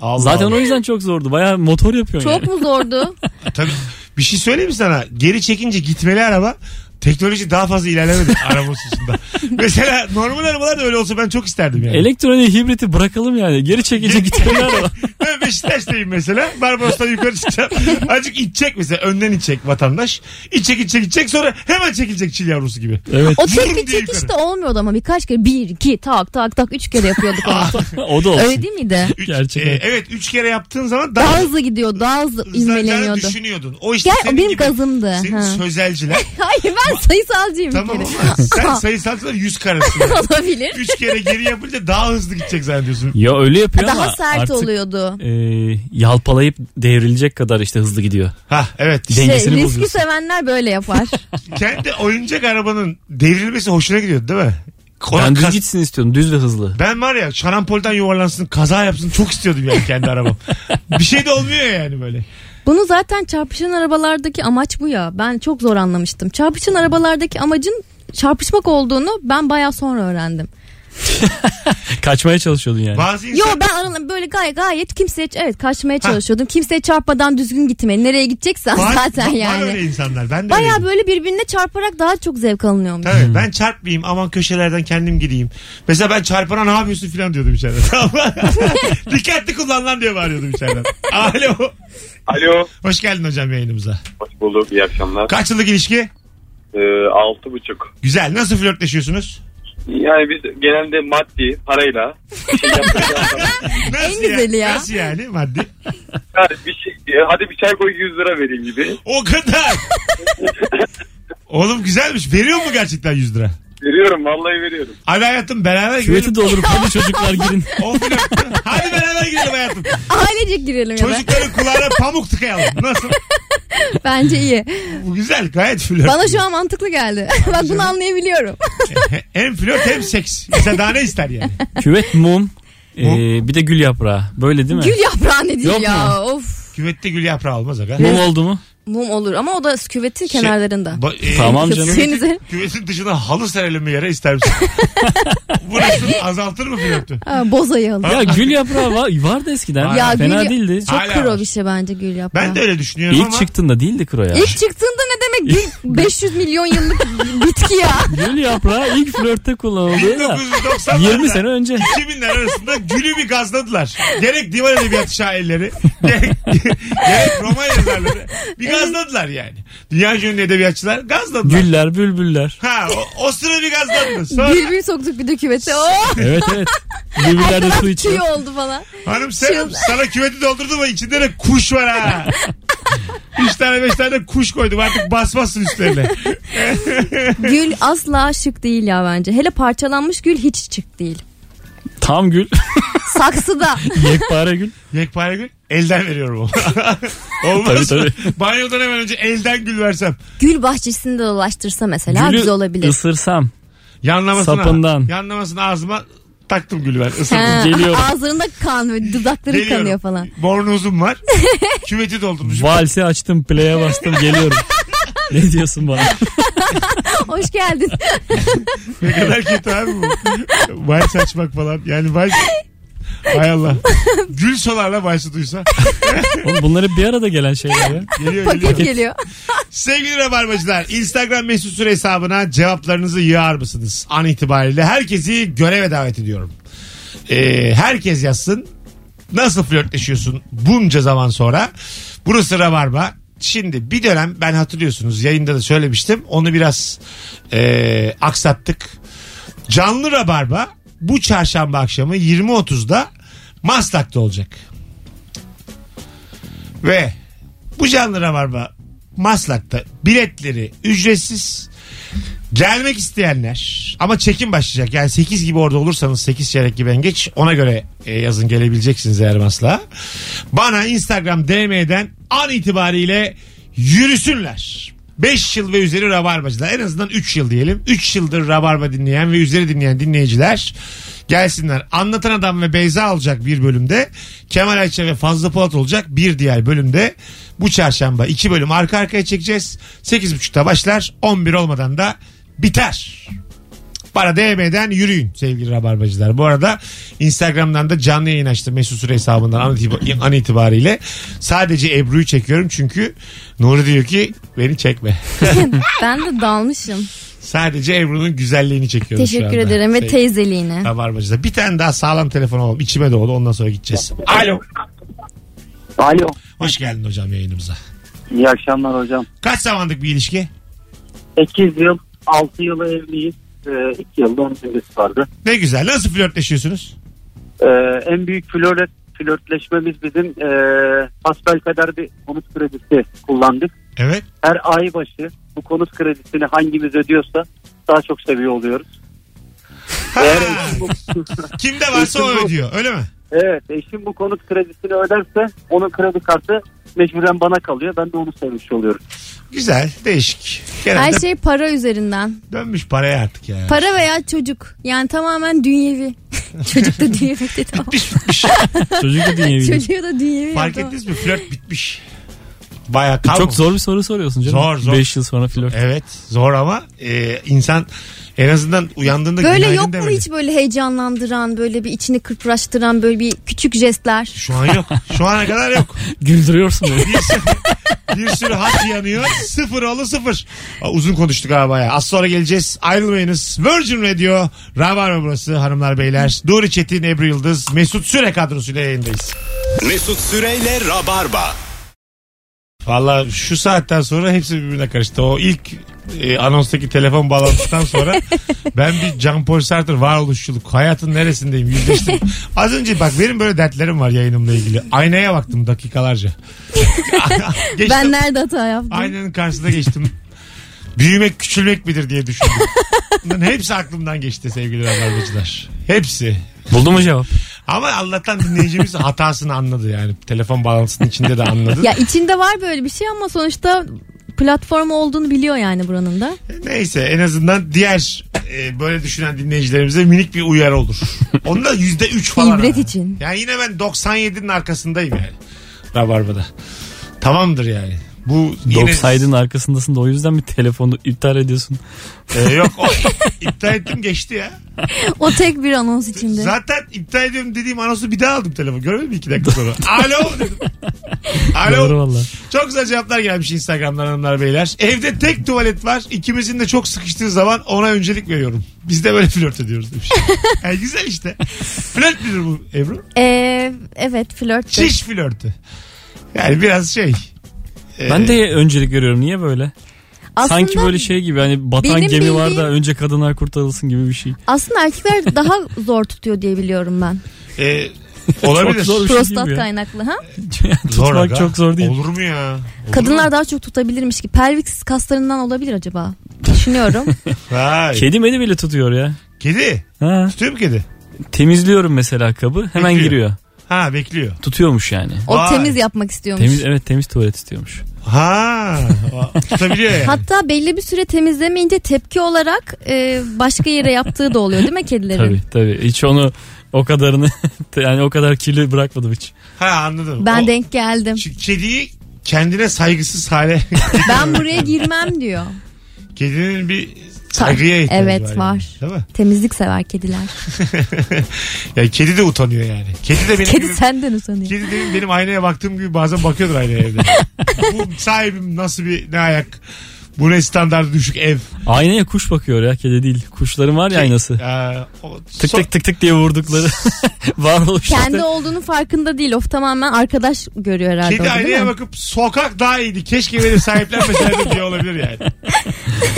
[SPEAKER 2] Allah
[SPEAKER 4] Zaten
[SPEAKER 2] Allah.
[SPEAKER 4] o yüzden çok zordu. Bayağı motor yapıyorsun
[SPEAKER 3] Çok
[SPEAKER 4] yani.
[SPEAKER 3] mu zordu?
[SPEAKER 2] Tabii. Bir şey söyleyeyim mi sana? Geri çekince gitmeli araba teknoloji daha fazla ilerlemedi araba hususunda. Mesela normal arabalar da öyle olsa ben çok isterdim yani.
[SPEAKER 4] Elektronik hibriti bırakalım yani. Geri çekici gitmeli araba.
[SPEAKER 2] Ben Beşiktaş'tayım mesela. Barbaros'tan yukarı çıkacağım. Azıcık itecek mesela. Önden itecek vatandaş. İtecek itecek itecek sonra hemen çekilecek çil yavrusu gibi.
[SPEAKER 4] Evet.
[SPEAKER 3] O
[SPEAKER 2] Vurun
[SPEAKER 3] tek bir
[SPEAKER 2] diye
[SPEAKER 3] çekişte olmuyordu ama birkaç kere bir iki tak tak tak üç kere yapıyorduk onu.
[SPEAKER 4] o da olsun.
[SPEAKER 3] Öyle değil miydi?
[SPEAKER 2] Üç-
[SPEAKER 4] Gerçekten.
[SPEAKER 2] e, evet üç kere yaptığın zaman daha,
[SPEAKER 3] Daha hızlı gidiyor daha hızlı
[SPEAKER 2] hızlanacağını
[SPEAKER 3] ivmeleniyordu.
[SPEAKER 2] düşünüyordun. O işte
[SPEAKER 3] Gel o
[SPEAKER 2] senin
[SPEAKER 3] benim
[SPEAKER 2] gibi.
[SPEAKER 3] gazımdı.
[SPEAKER 2] Senin
[SPEAKER 3] Ha.
[SPEAKER 2] sözelciler.
[SPEAKER 3] Hayır ben sayısalcıyım
[SPEAKER 2] tamam
[SPEAKER 3] bir
[SPEAKER 2] ama
[SPEAKER 3] kere.
[SPEAKER 2] sen sayısalcılar yüz karasın.
[SPEAKER 3] Olabilir.
[SPEAKER 2] Üç kere geri yapınca daha hızlı gidecek zannediyorsun.
[SPEAKER 4] Ya öyle yapıyor ama
[SPEAKER 3] Daha sert
[SPEAKER 4] artık
[SPEAKER 3] oluyordu.
[SPEAKER 4] e, yalpalayıp devrilecek kadar işte hızlı gidiyor.
[SPEAKER 2] Ha evet.
[SPEAKER 3] Şey,
[SPEAKER 4] Dengesini
[SPEAKER 3] riski
[SPEAKER 4] bozuyorsun.
[SPEAKER 3] sevenler böyle yapar.
[SPEAKER 2] Kendi oyuncak arabanın devrilmesi hoşuna gidiyordu değil mi? Ona
[SPEAKER 4] Ben düz
[SPEAKER 2] kas-
[SPEAKER 4] gitsin istiyorum. Düz ve hızlı.
[SPEAKER 2] Ben var ya şarampolden yuvarlansın kaza yapsın çok istiyordum yani kendi arabam. bir şey de olmuyor yani böyle.
[SPEAKER 3] Bunu zaten çarpışan arabalardaki amaç bu ya. Ben çok zor anlamıştım. Çarpışan arabalardaki amacın çarpışmak olduğunu ben baya sonra öğrendim.
[SPEAKER 4] Kaçmaya çalışıyordun yani.
[SPEAKER 2] Bazı
[SPEAKER 3] Yo
[SPEAKER 2] insan...
[SPEAKER 3] ben aralarında böyle gayet gayet kimseye evet kaçmaya çalışıyordum. Kimseye çarpmadan düzgün gitmeye. Nereye gideceksen
[SPEAKER 2] Var-
[SPEAKER 3] zaten
[SPEAKER 2] var- Var
[SPEAKER 3] yani.
[SPEAKER 2] öyle insanlar. Ben de
[SPEAKER 3] Baya
[SPEAKER 2] öyleyim.
[SPEAKER 3] böyle birbirine çarparak daha çok zevk alınıyormuş.
[SPEAKER 2] Tabii ben çarpmayayım aman köşelerden kendim gideyim. Mesela ben çarpana ne yapıyorsun filan diyordum içeriden. Tamam mı? Dikkatli kullan lan diye bağırıyordum içeriden. Alo.
[SPEAKER 6] Alo.
[SPEAKER 2] Hoş geldin hocam yayınımıza.
[SPEAKER 6] Hoş bulduk. İyi akşamlar.
[SPEAKER 2] Kaç yıllık ilişki?
[SPEAKER 6] Ee, altı buçuk.
[SPEAKER 2] Güzel. Nasıl flörtleşiyorsunuz?
[SPEAKER 6] Yani biz genelde maddi, parayla bir şey yapacağız.
[SPEAKER 2] Nasıl
[SPEAKER 3] En güzeli ya.
[SPEAKER 2] Nasıl yani maddi?
[SPEAKER 6] Yani bir şey, e, hadi bir çay koy 100 lira vereyim gibi.
[SPEAKER 2] O kadar. Oğlum güzelmiş. Veriyor mu gerçekten 100 lira?
[SPEAKER 6] Veriyorum vallahi veriyorum.
[SPEAKER 2] Hadi hayatım beraber girelim.
[SPEAKER 4] Küveti doldurup hadi çocuklar girin.
[SPEAKER 2] O flörtü. Hadi beraber girelim hayatım.
[SPEAKER 3] Ailecek girelim ya da.
[SPEAKER 2] Çocukların kulağına pamuk tıkayalım. Nasıl?
[SPEAKER 3] Bence iyi.
[SPEAKER 2] Bu güzel gayet flört.
[SPEAKER 3] Bana şu an mantıklı geldi. Bak bunu anlayabiliyorum.
[SPEAKER 2] Hem flört hem seks. Mesela daha ne ister yani?
[SPEAKER 4] Küvet mum. e,
[SPEAKER 2] Mum.
[SPEAKER 4] bir de gül yaprağı. Böyle değil mi?
[SPEAKER 3] Gül yaprağı ne diyeyim
[SPEAKER 4] Yok
[SPEAKER 3] ya. Of.
[SPEAKER 2] Küvette gül yaprağı olmaz aga.
[SPEAKER 4] Mum oldu mu?
[SPEAKER 3] Mum olur ama o da küvetin kenarlarında.
[SPEAKER 2] Ba- e,
[SPEAKER 4] Tamam
[SPEAKER 3] Kız
[SPEAKER 4] canım.
[SPEAKER 3] Denize.
[SPEAKER 2] Küvetin dışına halı serelim bir yere ister misin? Burası azaltır mı flörtü?
[SPEAKER 3] Ha, boz ayağı.
[SPEAKER 4] Ya gül yaprağı var, vardı eskiden.
[SPEAKER 3] Ya
[SPEAKER 4] Fena
[SPEAKER 3] gül-
[SPEAKER 4] değildi.
[SPEAKER 3] Çok
[SPEAKER 2] Hala var.
[SPEAKER 3] kro bir şey bence gül yaprağı.
[SPEAKER 2] Ben de öyle düşünüyorum
[SPEAKER 4] İlk
[SPEAKER 2] ama.
[SPEAKER 4] çıktığında değildi kro ya.
[SPEAKER 3] İlk çıktığında ne demek gül 500 milyon yıllık bitki ya.
[SPEAKER 4] Gül yaprağı ilk flörtte kullanıldı da
[SPEAKER 2] 1990'larda.
[SPEAKER 4] 20 sene önce.
[SPEAKER 2] 2000'ler arasında gülü bir gazladılar. Gerek divan edebiyatı şairleri, gerek, gerek roman yazarları bir gazladılar yani. Dünya ünlü edebiyatçılar gazladılar.
[SPEAKER 4] Güller, bülbüller.
[SPEAKER 2] Ha o, o sıra bir gazladı. Sonra
[SPEAKER 3] Bülbül soktuk bir de küvete. Oh,
[SPEAKER 4] Evet evet. Bülbüller de su
[SPEAKER 3] tüy
[SPEAKER 4] içiyor.
[SPEAKER 3] oldu falan.
[SPEAKER 2] hanım sen, sana küveti doldurdu mu içinde de kuş var ha. Üç tane beş tane kuş koydum artık basmazsın üstlerine.
[SPEAKER 3] Gül asla şık değil ya bence. Hele parçalanmış gül hiç şık değil.
[SPEAKER 4] Tam gül.
[SPEAKER 3] Saksıda.
[SPEAKER 4] Yekpare gül.
[SPEAKER 2] Yekpare gül elden veriyorum onu. Olmaz
[SPEAKER 4] Tabii,
[SPEAKER 2] mı? Banyodan hemen önce elden gül versem.
[SPEAKER 3] Gül bahçesinde dolaştırsa mesela
[SPEAKER 4] Gülü
[SPEAKER 3] güzel olabilir.
[SPEAKER 4] ısırsam.
[SPEAKER 2] Yanlamasına,
[SPEAKER 4] Sapından.
[SPEAKER 2] yanlamasına ağzıma taktım gülü ben ısırdım.
[SPEAKER 3] Ha,
[SPEAKER 4] Geliyorum.
[SPEAKER 3] Ağzlarında kan ve dudakları
[SPEAKER 2] Geliyorum.
[SPEAKER 3] kanıyor falan.
[SPEAKER 2] Bornozum var. Küveti doldurmuşum.
[SPEAKER 4] Valsi açtım, play'e bastım, geliyorum. ne diyorsun bana?
[SPEAKER 3] Hoş geldin.
[SPEAKER 2] ne kadar kötü abi bu. Vals açmak falan. Yani vals... Hay Allah. Gül solarla valsi duysa.
[SPEAKER 4] Oğlum bunlar hep bir arada gelen şeyler ya.
[SPEAKER 2] Geliyor geliyor.
[SPEAKER 3] Paket geliyor.
[SPEAKER 2] Sevgili Rabarbacılar. Instagram mesut süre hesabına cevaplarınızı yığar mısınız? An itibariyle herkesi göreve davet ediyorum. Ee, herkes yazsın. Nasıl flörtleşiyorsun bunca zaman sonra? Burası Rabarba. Şimdi bir dönem ben hatırlıyorsunuz yayında da söylemiştim. Onu biraz e, aksattık. Canlı Rabarba bu çarşamba akşamı 20.30'da Maslak'ta olacak. Ve bu canlı Rabarba Maslak'ta biletleri ücretsiz. Gelmek isteyenler ama çekim başlayacak. Yani 8 gibi orada olursanız 8 çeyrek gibi en geç ona göre e, yazın gelebileceksiniz eğer Maslak'a. Bana Instagram DM'den an itibariyle yürüsünler. 5 yıl ve üzeri rabarbacılar en azından 3 yıl diyelim. 3 yıldır rabarba dinleyen ve üzeri dinleyen dinleyiciler gelsinler. Anlatan Adam ve Beyza olacak bir bölümde. Kemal Ayça ve Fazlı Polat olacak bir diğer bölümde. Bu çarşamba 2 bölüm arka arkaya çekeceğiz. 8.30'da başlar 11 olmadan da biter. Para DM'den yürüyün sevgili rabarbacılar. Bu arada Instagram'dan da canlı yayın açtım Mesut Süre hesabından an, itibar- an itibariyle. Sadece Ebru'yu çekiyorum çünkü Nuri diyor ki beni çekme.
[SPEAKER 3] ben de dalmışım.
[SPEAKER 2] Sadece Ebru'nun güzelliğini çekiyorum şu
[SPEAKER 3] Teşekkür
[SPEAKER 2] anda. Şey-
[SPEAKER 3] ederim ve
[SPEAKER 2] Sevgili
[SPEAKER 3] teyzeliğine.
[SPEAKER 2] rabarbacılar. Bir tane daha sağlam telefon alalım. İçime doğdu ondan sonra gideceğiz. Alo.
[SPEAKER 7] Alo.
[SPEAKER 2] Hoş geldin hocam yayınımıza.
[SPEAKER 7] İyi akşamlar hocam.
[SPEAKER 2] Kaç zamandık bir ilişki?
[SPEAKER 7] 8 yıl 6 yıla evliyiz. 2 yılda 10 yılımız vardı.
[SPEAKER 2] Ne güzel. Nasıl flörtleşiyorsunuz?
[SPEAKER 7] Ee, en büyük flört, flörtleşmemiz bizim e, hasbel kadar bir konut kredisi kullandık.
[SPEAKER 2] Evet.
[SPEAKER 7] Her ay başı bu konut kredisini hangimiz ödüyorsa daha çok seviyor oluyoruz. Eğer eşim bu,
[SPEAKER 2] Kimde varsa o
[SPEAKER 7] Eşim bu.
[SPEAKER 2] ödüyor öyle mi?
[SPEAKER 7] evet eşim bu konut kredisini öderse onun kredi kartı mecburen bana kalıyor. Ben de onu sevmiş oluyorum.
[SPEAKER 2] Güzel değişik. Genelde
[SPEAKER 3] Her şey para üzerinden.
[SPEAKER 2] dönmüş paraya artık ya.
[SPEAKER 3] Para veya çocuk. Yani tamamen dünyevi. çocuk da dünyevi de tamam.
[SPEAKER 2] bitmiş bitmiş.
[SPEAKER 4] Çocuk da dinleyebilir.
[SPEAKER 3] Çocuğu da dünyevi.
[SPEAKER 2] Fark
[SPEAKER 3] ya,
[SPEAKER 2] ettiniz mi? Flört bitmiş. Bayağı kalmış.
[SPEAKER 4] Çok zor bir soru soruyorsun canım.
[SPEAKER 2] Zor, zor. E-
[SPEAKER 4] 5 yıl sonra flört.
[SPEAKER 2] Evet zor ama e, insan en azından uyandığında
[SPEAKER 3] Böyle
[SPEAKER 2] günaydın
[SPEAKER 3] yok mu
[SPEAKER 2] demedi.
[SPEAKER 3] hiç böyle heyecanlandıran, böyle bir içini kırpıraştıran, böyle bir küçük jestler?
[SPEAKER 2] Şu an yok. Şu ana kadar yok.
[SPEAKER 4] Güldürüyorsun beni.
[SPEAKER 2] Bir sürü, bir sürü hat yanıyor. Sıfır oğlu sıfır. Aa, Uzun konuştuk abi bayağı. Az sonra geleceğiz. Ayrılmayınız. Virgin Radio. Rabarba burası hanımlar beyler. Nuri Çetin, Ebru Yıldız, Mesut Süre kadrosuyla yayındayız.
[SPEAKER 1] Mesut Süreyle Rabarba.
[SPEAKER 2] Valla şu saatten sonra hepsi birbirine karıştı. O ilk e, anonstaki telefon bağlantısından sonra ben bir Jean Paul Sartre varoluşçuluk hayatın neresindeyim yüzleştim. Az önce bak benim böyle dertlerim var yayınımla ilgili. Aynaya baktım dakikalarca. Geçtim.
[SPEAKER 3] Ben nerede hata yaptım?
[SPEAKER 2] Aynanın karşısına geçtim. Büyümek küçülmek midir diye düşündüm. Bunların hepsi aklımdan geçti sevgili rabarbacılar. Hepsi.
[SPEAKER 4] Buldun mu cevap?
[SPEAKER 2] Ama Allah'tan dinleyicimiz hatasını anladı yani. Telefon bağlantısının içinde de anladı.
[SPEAKER 3] Ya içinde var böyle bir şey ama sonuçta platform olduğunu biliyor yani buranın da.
[SPEAKER 2] Neyse en azından diğer e, böyle düşünen dinleyicilerimize minik bir uyarı olur. Onda yüzde üç falan.
[SPEAKER 3] İbret
[SPEAKER 2] ha.
[SPEAKER 3] için.
[SPEAKER 2] Yani yine ben 97'nin arkasındayım yani. Rabarba'da. Tamamdır yani. Bu yine...
[SPEAKER 4] 90'ın arkasındasın da o yüzden mi telefonu iptal ediyorsun?
[SPEAKER 2] E, yok o, iptal ettim geçti ya.
[SPEAKER 3] O tek bir anons içinde.
[SPEAKER 2] Zaten iptal ediyorum dediğim anonsu bir daha aldım telefon. Görmedin mi iki dakika sonra? Alo dedim.
[SPEAKER 4] Doğru
[SPEAKER 2] Alo.
[SPEAKER 4] valla.
[SPEAKER 2] Çok güzel cevaplar gelmiş Instagram'dan hanımlar beyler. Evde tek tuvalet var. İkimizin de çok sıkıştığı zaman ona öncelik veriyorum. Biz de böyle flört ediyoruz demiş. Yani güzel işte. Flört midir bu Ebru?
[SPEAKER 3] Ee, evet flört. de.
[SPEAKER 2] Çiş flörtü. Yani biraz şey. e,
[SPEAKER 4] Ben de öncelik görüyorum. Niye böyle?
[SPEAKER 3] Aslında,
[SPEAKER 4] Sanki böyle şey gibi hani batan
[SPEAKER 3] benim
[SPEAKER 4] gemi var da
[SPEAKER 3] bildiğim-
[SPEAKER 4] önce kadınlar kurtarılsın gibi bir şey.
[SPEAKER 3] Aslında erkekler daha zor tutuyor diye biliyorum ben.
[SPEAKER 2] e, olabilir.
[SPEAKER 4] Çok zor bir şey
[SPEAKER 3] Prostat
[SPEAKER 4] değil mi ya?
[SPEAKER 3] kaynaklı ha?
[SPEAKER 4] Tutmak
[SPEAKER 2] Zor aga.
[SPEAKER 4] çok zor değil.
[SPEAKER 2] Olur mu ya? Olur
[SPEAKER 3] Kadınlar
[SPEAKER 2] mu?
[SPEAKER 3] daha çok tutabilirmiş ki. Pelviksiz kaslarından olabilir acaba? Düşünüyorum.
[SPEAKER 2] Vay. Kedi.
[SPEAKER 4] Kedi beni bile tutuyor ya. Ha,
[SPEAKER 2] Tutuyor mu kedi?
[SPEAKER 4] temizliyorum mesela kabı hemen
[SPEAKER 2] Tutuyor.
[SPEAKER 4] giriyor.
[SPEAKER 2] Ha bekliyor.
[SPEAKER 4] Tutuyormuş yani.
[SPEAKER 3] O
[SPEAKER 2] Vay.
[SPEAKER 3] temiz yapmak istiyormuş.
[SPEAKER 4] Temiz evet temiz tuvalet istiyormuş.
[SPEAKER 2] Ha. o- Tutabiliyor yani.
[SPEAKER 3] Hatta belli bir süre temizlemeyince tepki olarak e, başka yere yaptığı da oluyor değil mi kedilerin?
[SPEAKER 4] Tabii tabii. Hiç onu o kadarını yani o kadar kirli bırakmadım hiç.
[SPEAKER 2] Ha anladım.
[SPEAKER 3] Ben
[SPEAKER 2] O-
[SPEAKER 3] denk geldim.
[SPEAKER 2] Çünkü kediyi kendine saygısız hale
[SPEAKER 3] ben buraya girmem diyor.
[SPEAKER 2] kedinin bir saygıya ihtiyacı
[SPEAKER 3] Evet,
[SPEAKER 2] var.
[SPEAKER 3] var.
[SPEAKER 2] Yani, değil mi?
[SPEAKER 3] Temizlik sever kediler.
[SPEAKER 2] Ya kedi de utanıyor yani. Kedi de benim
[SPEAKER 3] Kedi
[SPEAKER 2] gibi-
[SPEAKER 3] senden utanıyor.
[SPEAKER 2] Kedi de benim aynaya baktığım gibi bazen bakıyordur aynaya evde. Bu sahibim nasıl bir ne ayak Bu ne standart düşük ev.
[SPEAKER 4] Aynaya kuş bakıyor ya kedi değil. Kuşların var
[SPEAKER 2] Şey,
[SPEAKER 4] ya aynası.
[SPEAKER 2] Aa, o-
[SPEAKER 4] Tık
[SPEAKER 2] son-
[SPEAKER 4] tık tık tık diye vurdukları varoluşta.
[SPEAKER 3] Kendi olduğunun farkında değil. Of tamamen arkadaş görüyor herhalde.
[SPEAKER 2] Kedi
[SPEAKER 3] orada, değil
[SPEAKER 2] aynaya
[SPEAKER 3] mi?
[SPEAKER 2] bakıp sokak daha iyiydi. Keşke benim sahiplenmeseydim diye olabilir yani.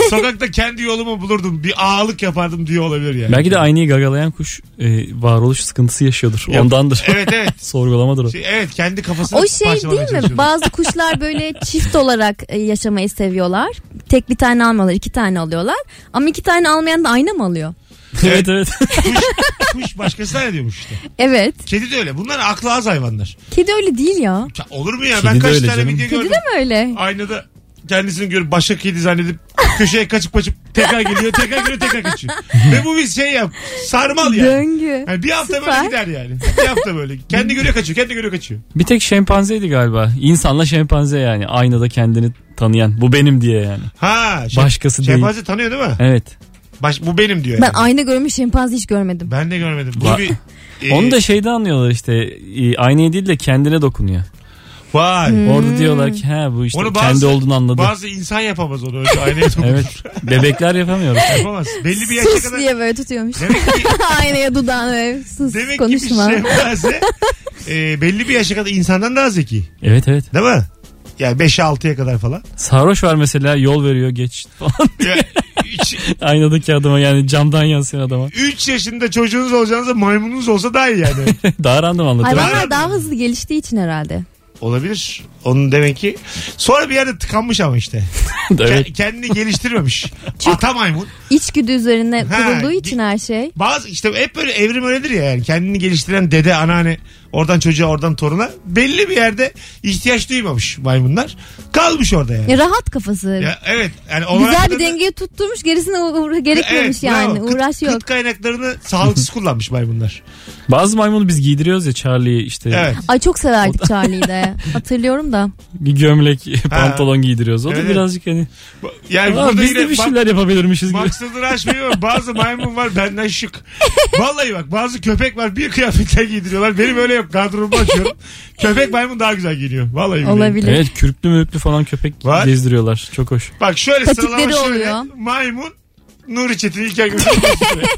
[SPEAKER 2] Sokakta kendi yolumu bulurdum. Bir ağalık yapardım diye olabilir yani.
[SPEAKER 4] Belki de aynayı gagalayan kuş e, varoluş sıkıntısı yaşıyordur.
[SPEAKER 2] Yok.
[SPEAKER 4] Ondandır.
[SPEAKER 2] Evet evet.
[SPEAKER 4] Sorgulamadır o.
[SPEAKER 2] Şey, evet kendi kafasını
[SPEAKER 3] O şey
[SPEAKER 2] parçalamaya
[SPEAKER 3] değil mi?
[SPEAKER 2] çalışıyordu.
[SPEAKER 3] Bazı kuşlar böyle çift olarak e, yaşamayı seviyorlar. Tek bir tane almıyorlar, iki tane alıyorlar. Ama iki tane almayan da ayna mı alıyor?
[SPEAKER 4] evet evet.
[SPEAKER 2] Kuş başkasına ne diyormuş işte.
[SPEAKER 3] Evet.
[SPEAKER 2] Kedi de öyle. Bunlar aklı az hayvanlar.
[SPEAKER 3] Kedi öyle değil ya.
[SPEAKER 2] Ya olur mu ya?
[SPEAKER 4] Kedi
[SPEAKER 2] ben
[SPEAKER 4] de
[SPEAKER 2] kaç
[SPEAKER 4] öyle
[SPEAKER 2] tane
[SPEAKER 4] canım.
[SPEAKER 2] video
[SPEAKER 3] Kedi
[SPEAKER 2] gördüm.
[SPEAKER 3] de mi öyle?
[SPEAKER 2] Aynada kendisini görüp başka kedi zannedip köşeye kaçıp kaçıp tekrar geliyor tekrar geliyor tekrar kaçıyor. Ve bu bir şey yap. Sarmal yani.
[SPEAKER 3] Döngü.
[SPEAKER 2] Yani bir hafta
[SPEAKER 3] Süper.
[SPEAKER 2] böyle gider yani. Bir hafta böyle. Kendi görüyor kaçıyor. Kendi görüyor kaçıyor.
[SPEAKER 4] Bir tek şempanzeydi galiba. İnsanla şempanze yani. Aynada kendini tanıyan. Bu benim diye yani.
[SPEAKER 2] Ha. Şey,
[SPEAKER 4] Başkası değil.
[SPEAKER 2] Şempanze tanıyor değil mi?
[SPEAKER 4] Evet.
[SPEAKER 2] Baş, bu benim diyor.
[SPEAKER 3] Ben
[SPEAKER 2] Yani.
[SPEAKER 3] ayna görmüş şempanze hiç görmedim.
[SPEAKER 2] Ben de görmedim. Bu
[SPEAKER 4] Va-
[SPEAKER 2] bir e,
[SPEAKER 4] Onu da şeyde anlıyorlar işte. E, aynaya değil de kendine dokunuyor.
[SPEAKER 2] vay.
[SPEAKER 4] Orada diyorlar ki he bu işte
[SPEAKER 2] Onu bazı-
[SPEAKER 4] kendi olduğunu anladı.
[SPEAKER 2] Bazı insan yapamaz onu. Öyle aynaya dokunur.
[SPEAKER 4] Evet. Bebekler yapamıyor.
[SPEAKER 2] Yapamaz. Belli bir yaşa
[SPEAKER 3] Sus
[SPEAKER 2] kadar.
[SPEAKER 3] diye böyle tutuyormuş.
[SPEAKER 2] Demek ki
[SPEAKER 3] Aynaya dudağını böyle sus
[SPEAKER 2] Demek
[SPEAKER 3] konuşma.
[SPEAKER 2] ki bir şey- şempanze e, belli bir yaşa kadar insandan daha zeki.
[SPEAKER 4] Evet evet.
[SPEAKER 2] Değil mi? Yani 5'e 6'ya kadar falan.
[SPEAKER 4] Sarhoş var mesela yol veriyor geç falan.
[SPEAKER 2] Ya, üç-
[SPEAKER 4] Aynadaki adama yani camdan yansıyan adama.
[SPEAKER 2] 3 yaşında çocuğunuz olacağınıza maymununuz olsa daha iyi yani.
[SPEAKER 4] Daha random anlatıyor.
[SPEAKER 3] Hayvanlar daha hızlı geliştiği için herhalde.
[SPEAKER 2] Olabilir. Onun demek ki. Sonra bir yerde tıkanmış ama işte.
[SPEAKER 4] evet.
[SPEAKER 2] Ke- Kendini geliştirmemiş. Ata maymun.
[SPEAKER 3] İçgüdü üzerine
[SPEAKER 2] Ha,
[SPEAKER 3] kurulduğu
[SPEAKER 2] ge-
[SPEAKER 3] için her şey.
[SPEAKER 2] Bazı işte hep böyle evrim öyledir ya yani. Kendini geliştiren dede, anneanne, oradan çocuğa, oradan toruna. Belli bir yerde ihtiyaç duymamış maymunlar. Kalmış orada yani.
[SPEAKER 3] Ya rahat kafası.
[SPEAKER 2] Ya, evet. Yani
[SPEAKER 3] Güzel
[SPEAKER 2] olarak
[SPEAKER 3] bir
[SPEAKER 2] da-
[SPEAKER 3] dengeye tutturmuş gerisine uğra- gerekmemiş
[SPEAKER 2] Evet,
[SPEAKER 3] yani.
[SPEAKER 2] bravo. Kıt-
[SPEAKER 3] Uğraş yok.
[SPEAKER 2] Kıt kaynaklarını sağlıksız kullanmış maymunlar.
[SPEAKER 4] Bazı maymunu biz giydiriyoruz ya Charlie'yi işte.
[SPEAKER 2] Evet.
[SPEAKER 3] Ay çok severdik Charlie'yi de. Hatırlıyorum da.
[SPEAKER 4] Bir gömlek pantolon giydiriyoruz. O da
[SPEAKER 2] Evet, evet.
[SPEAKER 4] birazcık hani.
[SPEAKER 2] Yani
[SPEAKER 4] "Aa,
[SPEAKER 2] burada
[SPEAKER 4] biz
[SPEAKER 2] yine
[SPEAKER 4] de bir
[SPEAKER 2] bak-
[SPEAKER 4] şeyler yapabilirmişiz gibi.
[SPEAKER 2] Maksadını aşmıyor ama bazı maymun var benden şık. Vallahi bak bazı köpek var bir kıyafetle giydiriyorlar. Benim öyle yok gardırobumu açıyorum. köpek maymun daha güzel giyiniyor. Vallahi billahi.
[SPEAKER 3] Olabilir.
[SPEAKER 4] Evet kürklü mürklü falan köpek
[SPEAKER 2] Var.
[SPEAKER 4] gezdiriyorlar. Çok hoş.
[SPEAKER 2] Bak şöyle
[SPEAKER 3] Patikleri
[SPEAKER 2] sıralama şöyle.
[SPEAKER 3] oluyor.
[SPEAKER 2] Maymun Nuri Çetin İlker Gümüş.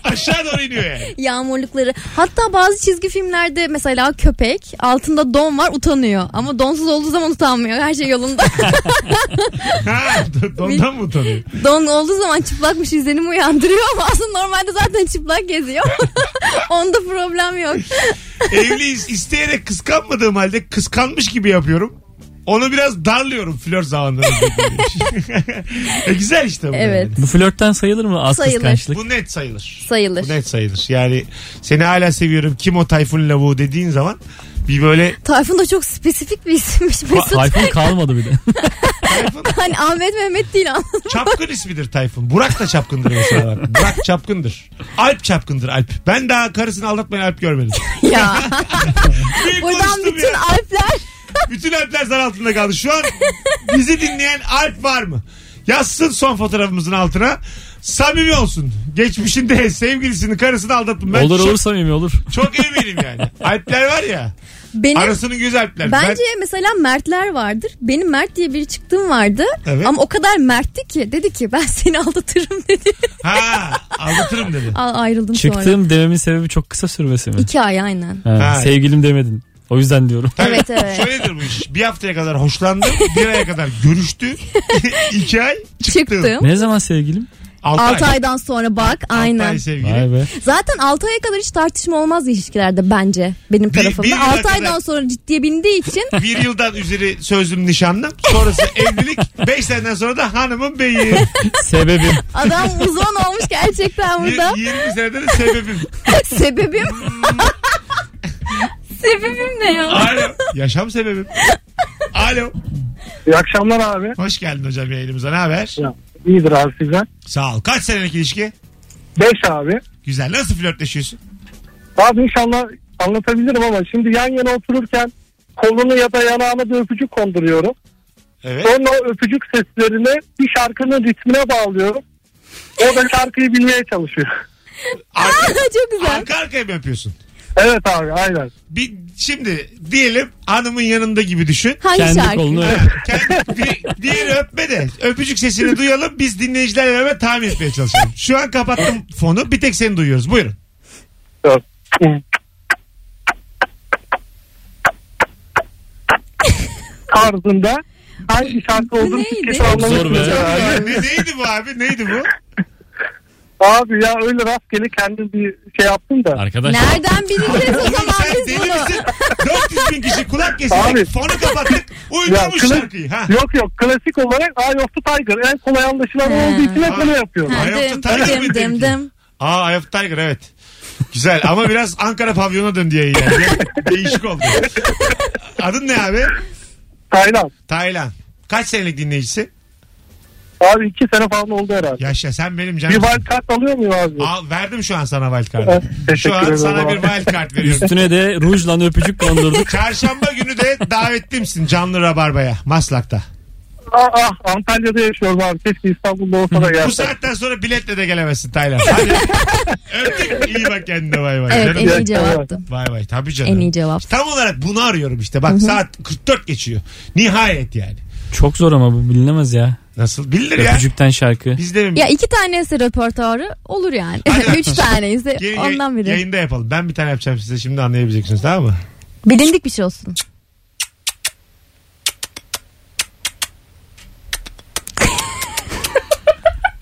[SPEAKER 2] Aşağı doğru iniyor yani.
[SPEAKER 3] Yağmurlukları. Hatta bazı çizgi filmlerde mesela köpek altında don var utanıyor. Ama donsuz olduğu zaman utanmıyor. Her şey yolunda.
[SPEAKER 2] Ha, dondan mı utanıyor?
[SPEAKER 3] don olduğu zaman çıplakmış izlenimi uyandırıyor ama aslında normalde zaten çıplak geziyor. Onda problem yok.
[SPEAKER 2] Evliyiz isteyerek kıskanmadığım halde kıskanmış gibi yapıyorum. Onu biraz darlıyorum flör zamanlarında. e güzel işte bu.
[SPEAKER 3] Evet.
[SPEAKER 2] yani.
[SPEAKER 4] Bu flörtten sayılır mı az
[SPEAKER 3] Sayılır.
[SPEAKER 4] kıskançlık?
[SPEAKER 2] Bu net sayılır.
[SPEAKER 3] Sayılır.
[SPEAKER 2] Bu net sayılır. Yani seni hala seviyorum. Kim o Tayfun lavuğu dediğin zaman bir böyle
[SPEAKER 3] Tayfun da çok spesifik bir isimmiş
[SPEAKER 4] Ba-
[SPEAKER 3] Mesut.
[SPEAKER 4] Tayfun kalmadı bir de.
[SPEAKER 2] Tayfun
[SPEAKER 3] hani Ahmet Mehmet değil anladın.
[SPEAKER 2] çapkın ismidir Tayfun. Burak da çapkındır mesela. Bak. Burak çapkındır. Alp çapkındır Alp. Ben daha karısını aldatmayan Alp görmedim.
[SPEAKER 3] ya.
[SPEAKER 2] Büyük
[SPEAKER 3] Buradan
[SPEAKER 2] konuştum
[SPEAKER 3] bütün
[SPEAKER 2] ya.
[SPEAKER 3] alpler
[SPEAKER 2] Bütün Alpler zar altında kaldı. Şu an bizi dinleyen Alp var mı? Yazsın son fotoğrafımızın altına. Samimi olsun. Geçmişinde sevgilisini karısını aldattım. Ben
[SPEAKER 4] olur
[SPEAKER 2] çok,
[SPEAKER 4] olur samimi olur.
[SPEAKER 2] çok eminim yani. Alpler var ya.
[SPEAKER 3] benim
[SPEAKER 2] Arasının göz Alpler.
[SPEAKER 3] Bence mesela Mertler vardır. Benim Mert diye biri çıktığım vardı.
[SPEAKER 2] Evet.
[SPEAKER 3] Ama o kadar Mert'ti ki dedi ki ben seni aldatırım dedi.
[SPEAKER 2] Ben, ha aldatırım dedi.
[SPEAKER 3] A- ayrıldım sonra.
[SPEAKER 4] Çıktığım dememin sebebi çok kısa sürmesi mi?
[SPEAKER 3] İki ay aynen.
[SPEAKER 4] Ha,
[SPEAKER 2] Ha.
[SPEAKER 4] Sevgilim demedin. O yüzden diyorum.
[SPEAKER 3] Evet, evet.
[SPEAKER 2] Şöyledir bu iş. Bir haftaya kadar hoşlandı. Bir aya kadar görüştü. iki ay çıktı.
[SPEAKER 3] Çıktım.
[SPEAKER 4] Ne zaman sevgilim?
[SPEAKER 2] Altı,
[SPEAKER 3] 6
[SPEAKER 2] ay.
[SPEAKER 3] aydan sonra bak
[SPEAKER 2] Altı
[SPEAKER 3] aynen.
[SPEAKER 2] ay sevgili.
[SPEAKER 4] Vay be.
[SPEAKER 3] Zaten 6 aya kadar hiç tartışma olmaz ilişkilerde bence benim
[SPEAKER 2] Bir- bir
[SPEAKER 3] tarafımda.
[SPEAKER 2] yıla
[SPEAKER 3] 6
[SPEAKER 2] kadar-
[SPEAKER 3] aydan sonra ciddiye bindiği için
[SPEAKER 2] Bir yıldan üzeri sözlüm nişanlım. Sonrası evlilik. Beş seneden sonra da hanımın beyi.
[SPEAKER 4] Sebebim.
[SPEAKER 3] adam uzman olmuş gerçekten burada.
[SPEAKER 2] Y- 20 senede de sebebim.
[SPEAKER 3] Sebebim Sebebim ne ya?
[SPEAKER 2] Alo. Yaşam sebebim. Alo.
[SPEAKER 7] İyi akşamlar abi.
[SPEAKER 2] Hoş geldin hocam yayınımıza. Ne haber?
[SPEAKER 7] İyidir abi sizden.
[SPEAKER 2] Sağ ol. Kaç senelik ilişki?
[SPEAKER 7] 5 abi.
[SPEAKER 2] Güzel. Nasıl flörtleşiyorsun?
[SPEAKER 7] Abi inşallah anlatabilirim ama şimdi yan yana otururken kolunu ya da yanağına bir öpücük konduruyorum.
[SPEAKER 2] Evet.
[SPEAKER 7] Sonra o öpücük seslerini bir şarkının ritmine bağlıyorum. O da şarkıyı bilmeye çalışıyor.
[SPEAKER 2] Arka,
[SPEAKER 3] Çok güzel.
[SPEAKER 2] arka arkaya mı yapıyorsun?
[SPEAKER 7] Evet abi aynen.
[SPEAKER 2] Bir, şimdi diyelim hanımın yanında gibi düşün.
[SPEAKER 3] Hangi
[SPEAKER 4] Kendi
[SPEAKER 3] şarkı?
[SPEAKER 4] kolunu
[SPEAKER 2] Kendi, di- diğer öpme de öpücük sesini duyalım biz dinleyicilerle beraber tahmin etmeye çalışalım. Şu an kapattım fonu bir tek seni duyuyoruz buyurun.
[SPEAKER 7] Yok. tarzında hangi şarkı olduğunu
[SPEAKER 3] neydi?
[SPEAKER 7] siz kesin anlamışsınız
[SPEAKER 4] Zor be.
[SPEAKER 7] herhalde.
[SPEAKER 2] Ne, neydi bu abi neydi bu?
[SPEAKER 7] Abi ya öyle rastgele kendim bir şey yaptım da.
[SPEAKER 4] Arkadaşlar.
[SPEAKER 3] Nereden bileceğiz o
[SPEAKER 2] Oğlum
[SPEAKER 3] zaman
[SPEAKER 2] sen
[SPEAKER 3] biz
[SPEAKER 2] deli
[SPEAKER 3] bunu?
[SPEAKER 2] misin? 400 bin kişi kulak kesildi.
[SPEAKER 7] Abi.
[SPEAKER 2] Fonu kapattık.
[SPEAKER 7] Ya,
[SPEAKER 2] Uydurmuş
[SPEAKER 7] kla-
[SPEAKER 2] şarkıyı. Ha.
[SPEAKER 7] Yok yok klasik olarak Eye of the Tiger en kolay anlaşılan
[SPEAKER 3] He.
[SPEAKER 7] olduğu için hep
[SPEAKER 2] Ha.
[SPEAKER 7] bunu yapıyorum.
[SPEAKER 3] Ha,
[SPEAKER 2] Ayakta
[SPEAKER 3] dım,
[SPEAKER 2] tarak mı
[SPEAKER 3] dım,
[SPEAKER 2] dedim
[SPEAKER 3] dım, dım.
[SPEAKER 2] Aa Eye of the Tiger evet. Güzel ama biraz Ankara pavyona döndü yayın yani. Değişik oldu. Adın ne abi?
[SPEAKER 7] Taylan.
[SPEAKER 2] Taylan. Kaç senelik dinleyicisi?
[SPEAKER 7] Abi iki sene falan oldu herhalde.
[SPEAKER 2] Yaşa sen benim
[SPEAKER 7] Bir
[SPEAKER 2] canım.
[SPEAKER 7] wild card alıyor muyum abi?
[SPEAKER 2] Al, verdim şu an sana
[SPEAKER 7] Evet,
[SPEAKER 2] wildcard'ı. Şu
[SPEAKER 7] teşekkür
[SPEAKER 2] an
[SPEAKER 7] ederim
[SPEAKER 2] sana
[SPEAKER 7] abi.
[SPEAKER 2] bir wildcard veriyorum.
[SPEAKER 4] Üstüne de rujla öpücük kondurduk.
[SPEAKER 2] Çarşamba günü de davetlimsin canlı rabarbaya Maslak'ta.
[SPEAKER 7] Ah, ah, Antalya'da yaşıyorum abi. Keşke İstanbul'da olsa da
[SPEAKER 2] Bu
[SPEAKER 7] gelsem.
[SPEAKER 2] saatten sonra biletle de gelemezsin Taylan. Hadi. Öptük. İyi bak kendine bay bay.
[SPEAKER 3] Evet
[SPEAKER 2] Canım.
[SPEAKER 3] en iyi
[SPEAKER 7] Evet.
[SPEAKER 3] cevaptı.
[SPEAKER 2] Bay bay tabii canım.
[SPEAKER 3] En iyi cevap.
[SPEAKER 2] Tam olarak bunu arıyorum işte. Bak saat 44 geçiyor. Nihayet yani.
[SPEAKER 4] Çok zor ama bu bilinemez ya.
[SPEAKER 2] Nasıl? Bilir ya.
[SPEAKER 4] Öpücükten şarkı.
[SPEAKER 2] Biz de mi?
[SPEAKER 3] Ya iki tane ise röportajı olur yani.
[SPEAKER 2] Hadi
[SPEAKER 3] Üç
[SPEAKER 2] bakalım.
[SPEAKER 3] tane ise
[SPEAKER 2] Gelin yay-
[SPEAKER 3] ondan biri.
[SPEAKER 2] Yayında yapalım. Ben bir tane yapacağım size şimdi anlayabileceksiniz tamam mı?
[SPEAKER 3] Bilindik bir şey olsun.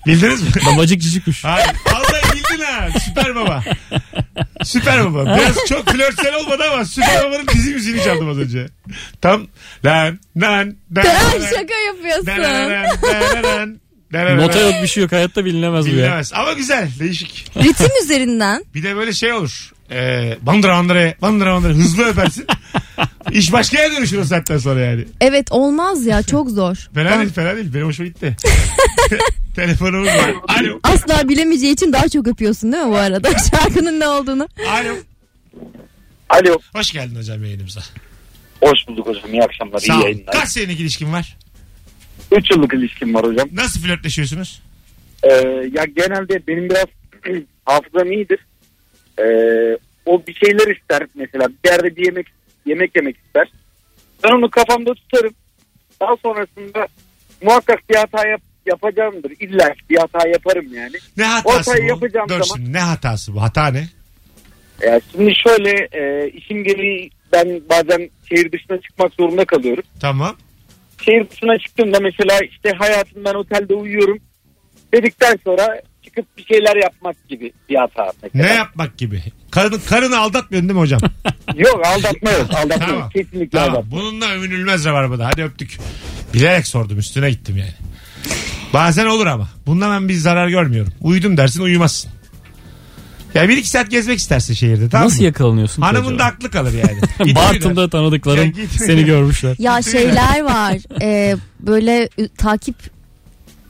[SPEAKER 2] Bildiniz mi?
[SPEAKER 4] Babacık cici kuş.
[SPEAKER 2] Hayır. Vallahi bildin ha. Süper baba. Süper baba. Biraz çok flörtsel olmadı ama süper babanın dizi müziğini çaldım az önce. Tam lan lan lan lan
[SPEAKER 3] Ay şaka yapıyorsun.
[SPEAKER 2] lan lan lan lan lan
[SPEAKER 4] Nota
[SPEAKER 2] lan.
[SPEAKER 4] yok bir şey yok. Hayatta bilinemez bu ya.
[SPEAKER 2] Bilemez. Ama güzel. Değişik.
[SPEAKER 3] Ritim üzerinden.
[SPEAKER 2] Bir de böyle şey olur. Ee, bandıra bandıra bandıra bandıra hızlı öpersin. İş başka yere dönüşür o saatten sonra yani.
[SPEAKER 3] Evet olmaz ya çok zor.
[SPEAKER 2] Fena
[SPEAKER 3] Ben-
[SPEAKER 2] değil fena değil. Benim hoşuma gitti. Telefonumuz var. Alo.
[SPEAKER 3] Asla bilemeyeceği için daha çok öpüyorsun değil mi bu arada? Şarkının ne olduğunu.
[SPEAKER 2] Alo.
[SPEAKER 8] Alo.
[SPEAKER 2] Hoş geldin hocam yayınımıza.
[SPEAKER 8] Hoş bulduk hocam. İyi akşamlar.
[SPEAKER 2] Sağ
[SPEAKER 8] iyi
[SPEAKER 2] ol.
[SPEAKER 8] yayınlar.
[SPEAKER 2] Kaç senelik ilişkin var?
[SPEAKER 8] 3 yıllık ilişkim var hocam.
[SPEAKER 2] Nasıl flörtleşiyorsunuz?
[SPEAKER 8] Ee, ya genelde benim biraz hafızam iyidir. Ee, o bir şeyler ister mesela. Bir yerde bir yemek yemek yemek ister. Ben onu kafamda tutarım. Daha sonrasında muhakkak bir hata yap- yapacağımdır. İlla ki bir hata yaparım yani.
[SPEAKER 2] Ne hatası
[SPEAKER 8] Ortayı
[SPEAKER 2] bu?
[SPEAKER 8] yapacağım
[SPEAKER 2] Dur
[SPEAKER 8] zaman.
[SPEAKER 2] şimdi ne hatası bu? Hata ne?
[SPEAKER 8] Ya şimdi şöyle e, işim gereği ben bazen şehir dışına çıkmak zorunda kalıyorum.
[SPEAKER 2] Tamam.
[SPEAKER 8] şehir dışına çıktığımda mesela işte hayatım ben otelde uyuyorum dedikten sonra çıkıp bir şeyler yapmak gibi bir hata.
[SPEAKER 2] Ne
[SPEAKER 8] Mesela.
[SPEAKER 2] yapmak gibi? Karın, karını aldatmıyorsun değil mi hocam?
[SPEAKER 8] Yok aldatma yok. Aldatma
[SPEAKER 2] Tamam.
[SPEAKER 8] yok. Kesinlikle
[SPEAKER 2] tamam.
[SPEAKER 8] aldatma.
[SPEAKER 2] Bununla övünülmez rabarbada. Hadi öptük. Bilerek sordum üstüne gittim yani. Bazen olur ama. Bundan ben bir zarar görmüyorum. Uyudum dersin uyumazsın. Ya bir iki saat gezmek istersin şehirde tamam
[SPEAKER 4] Nasıl
[SPEAKER 2] mı?
[SPEAKER 4] yakalanıyorsun? ki
[SPEAKER 2] Hanımın
[SPEAKER 4] acaba?
[SPEAKER 2] da aklı kalır yani. Git uyuver.
[SPEAKER 4] Bartın'da tanıdıklarım
[SPEAKER 2] Git-
[SPEAKER 4] seni görmüşler.
[SPEAKER 3] Ya şeyler var. Ee, böyle ü- takip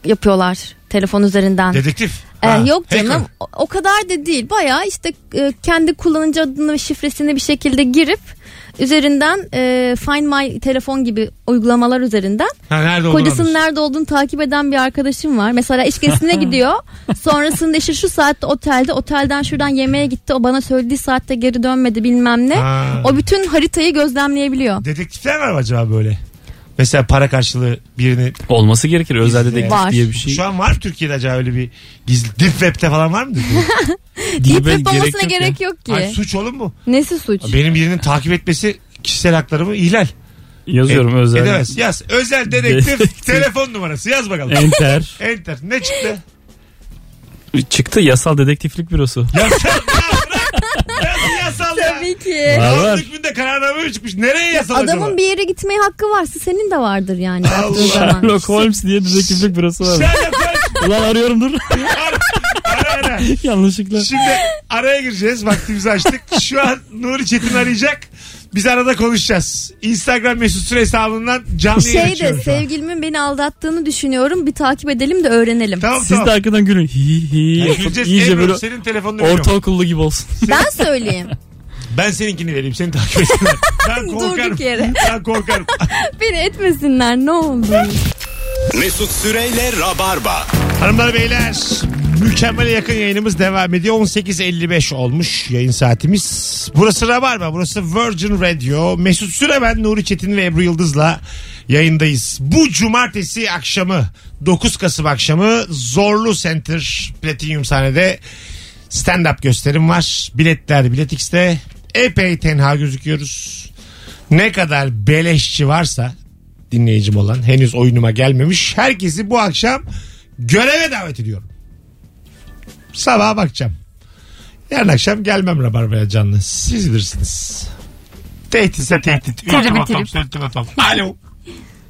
[SPEAKER 3] yapıyorlar telefon üzerinden.
[SPEAKER 2] Dedektif.
[SPEAKER 3] Ee,
[SPEAKER 2] Ha,
[SPEAKER 3] yok
[SPEAKER 2] hacker.
[SPEAKER 3] canım o, o kadar da değil. Bayağı işte e, kendi kullanıcı adını ve şifresini bir şekilde girip üzerinden e, Find My telefon gibi uygulamalar üzerinden
[SPEAKER 2] Ha, nerede olduğunu
[SPEAKER 3] Kocasının
[SPEAKER 2] anlıyorsun.
[SPEAKER 3] nerede olduğunu takip eden bir arkadaşım var. Mesela eşkesine gidiyor. Sonrasında işte şu saatte otelde, otelden şuradan yemeğe gitti. O bana söylediği saatte geri dönmedi bilmem ne.
[SPEAKER 2] Ha.
[SPEAKER 3] O bütün haritayı gözlemleyebiliyor.
[SPEAKER 2] Dedektifler var mı acaba böyle? Mesela para karşılığı birini
[SPEAKER 4] Olması gerekir. Özel dedektif
[SPEAKER 3] Var.
[SPEAKER 4] diye bir şey.
[SPEAKER 2] Şu an var mı Türkiye'de acaba öyle bir gizli deep web'te falan var mıdır?
[SPEAKER 3] Deyip
[SPEAKER 4] Dibe
[SPEAKER 3] yapmamasına
[SPEAKER 4] ya.
[SPEAKER 3] gerek yok ki.
[SPEAKER 2] Ay suç oğlum bu.
[SPEAKER 3] Nesi suç?
[SPEAKER 2] Benim birinin takip etmesi kişisel haklarımı ihlal.
[SPEAKER 4] Yazıyorum
[SPEAKER 2] E-
[SPEAKER 4] özel.
[SPEAKER 2] Edemez. Yaz. Özel dedektif
[SPEAKER 4] Dedektif.
[SPEAKER 2] telefon numarası. Yaz bakalım.
[SPEAKER 4] Enter.
[SPEAKER 2] Enter. Ne çıktı?
[SPEAKER 4] Çıktı yasal dedektiflik bürosu.
[SPEAKER 2] Yasal. ya bırak. Nasıl yasal ya?
[SPEAKER 3] Tabii ki.
[SPEAKER 4] Var,
[SPEAKER 2] Var
[SPEAKER 4] var.
[SPEAKER 2] hükmünde kararname mi çıkmış? Nereye yasal acaba?
[SPEAKER 3] Adamın bir yere gitmeye hakkı varsa senin de vardır yani.
[SPEAKER 2] Allah.
[SPEAKER 3] baktığın zaman. Şey
[SPEAKER 4] Sherlock Holmes diye dedektiflik bürosu var.
[SPEAKER 2] Sherlock Holmes.
[SPEAKER 4] Ulan arıyorum dur.
[SPEAKER 2] Ara- ara ara.
[SPEAKER 4] Yanlışlıkla.
[SPEAKER 2] Şimdi araya gireceğiz. Vaktimizi açtık. Şu an Nuri Çetin arayacak. Biz arada konuşacağız. Instagram mesut süre hesabından canlı yayın
[SPEAKER 3] Şey de
[SPEAKER 2] açıyorum şu an.
[SPEAKER 3] sevgilimin beni aldattığını düşünüyorum. Bir takip edelim de öğrenelim.
[SPEAKER 2] Tamam
[SPEAKER 4] Siz
[SPEAKER 2] tamam.
[SPEAKER 4] de arkadan gülün. Hi hi.
[SPEAKER 2] Yani
[SPEAKER 4] yapın.
[SPEAKER 2] Güleceğiz.
[SPEAKER 4] İyice
[SPEAKER 2] Ebru,
[SPEAKER 4] böyle
[SPEAKER 2] senin telefonunu veriyorum.
[SPEAKER 4] ortaokullu gibi olsun.
[SPEAKER 3] Ben söyleyeyim.
[SPEAKER 2] Ben seninkini vereyim. Seni takip etsinler. Ben korkarım.
[SPEAKER 3] Durduk yere.
[SPEAKER 2] Ben korkarım.
[SPEAKER 3] Beni etmesinler ne olur.
[SPEAKER 1] Mesut Süreyle Rabarba.
[SPEAKER 2] Hanımlar beyler Mükemmele yakın yayınımız devam ediyor. 18.55 olmuş yayın saatimiz. Burası Rabarba, burası Virgin Radio. Mesut Süre ben, Nuri Çetin ve Ebru Yıldız'la yayındayız. Bu cumartesi akşamı, 9 Kasım akşamı Zorlu Center Platinum sahnede stand-up gösterim var. Biletler Bilet X'te. Epey tenha gözüküyoruz. Ne kadar beleşçi varsa dinleyicim olan henüz oyunuma gelmemiş herkesi bu akşam göreve davet ediyorum. Sabaha bakacağım. Yarın akşam gelmem Rabarba'ya canlı. Siz bilirsiniz. Tehditse tehdit. Ultimatum, ultimatum. Alo.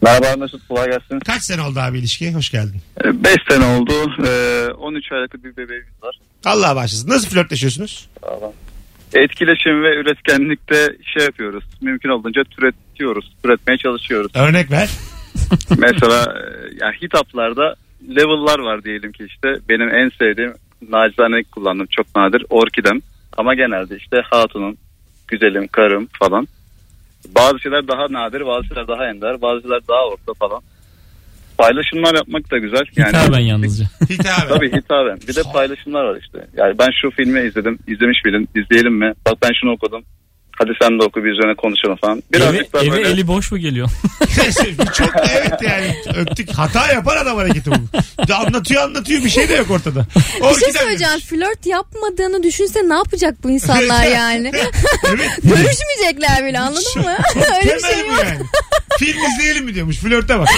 [SPEAKER 9] Merhaba Mesut kolay gelsin.
[SPEAKER 2] Kaç sene oldu abi ilişki? Hoş geldin.
[SPEAKER 9] 5 sene oldu. Ee, 13 aylık bir bebeğimiz var.
[SPEAKER 2] Allah bağışlasın. Nasıl flörtleşiyorsunuz?
[SPEAKER 9] Etkileşim ve üretkenlikte şey yapıyoruz. Mümkün olduğunca türetiyoruz. Türetmeye çalışıyoruz.
[SPEAKER 2] Örnek ver.
[SPEAKER 9] Mesela e, yani hitaplarda level'lar var diyelim ki işte. Benim en sevdiğim nacizane kullandım çok nadir orkidem. Ama genelde işte hatunum, güzelim, karım falan. Bazı şeyler daha nadir, bazı şeyler daha ender, bazı şeyler daha orta falan. Paylaşımlar yapmak da güzel.
[SPEAKER 4] Hitaben yalnızca.
[SPEAKER 2] Hitaben.
[SPEAKER 9] Tabii hitaben. Bir de paylaşımlar var işte. Yani ben şu filmi izledim. izlemiş miydin? İzleyelim mi? Bak ben şunu okudum. Hadi sen de oku bir üzerine konuşalım falan.
[SPEAKER 4] Eve,
[SPEAKER 9] Birazcık daha
[SPEAKER 4] eve
[SPEAKER 9] böyle.
[SPEAKER 4] eli boş mu geliyor?
[SPEAKER 2] Şey, Çok evet yani öptük. Hata yapar adam hareketi bu. Anlatıyor anlatıyor bir şey de yok ortada.
[SPEAKER 3] Bir şey
[SPEAKER 2] Orkiden
[SPEAKER 3] söyleyeceğim.
[SPEAKER 2] demiş.
[SPEAKER 3] Flört yapmadığını düşünse ne yapacak bu insanlar yani?
[SPEAKER 2] Evet.
[SPEAKER 3] Görüşmeyecekler bile anladın mı? Öyle bir
[SPEAKER 2] Temel
[SPEAKER 3] şey
[SPEAKER 2] bu
[SPEAKER 3] yok.
[SPEAKER 2] yani. Film izleyelim mi diyormuş. Flörte bak.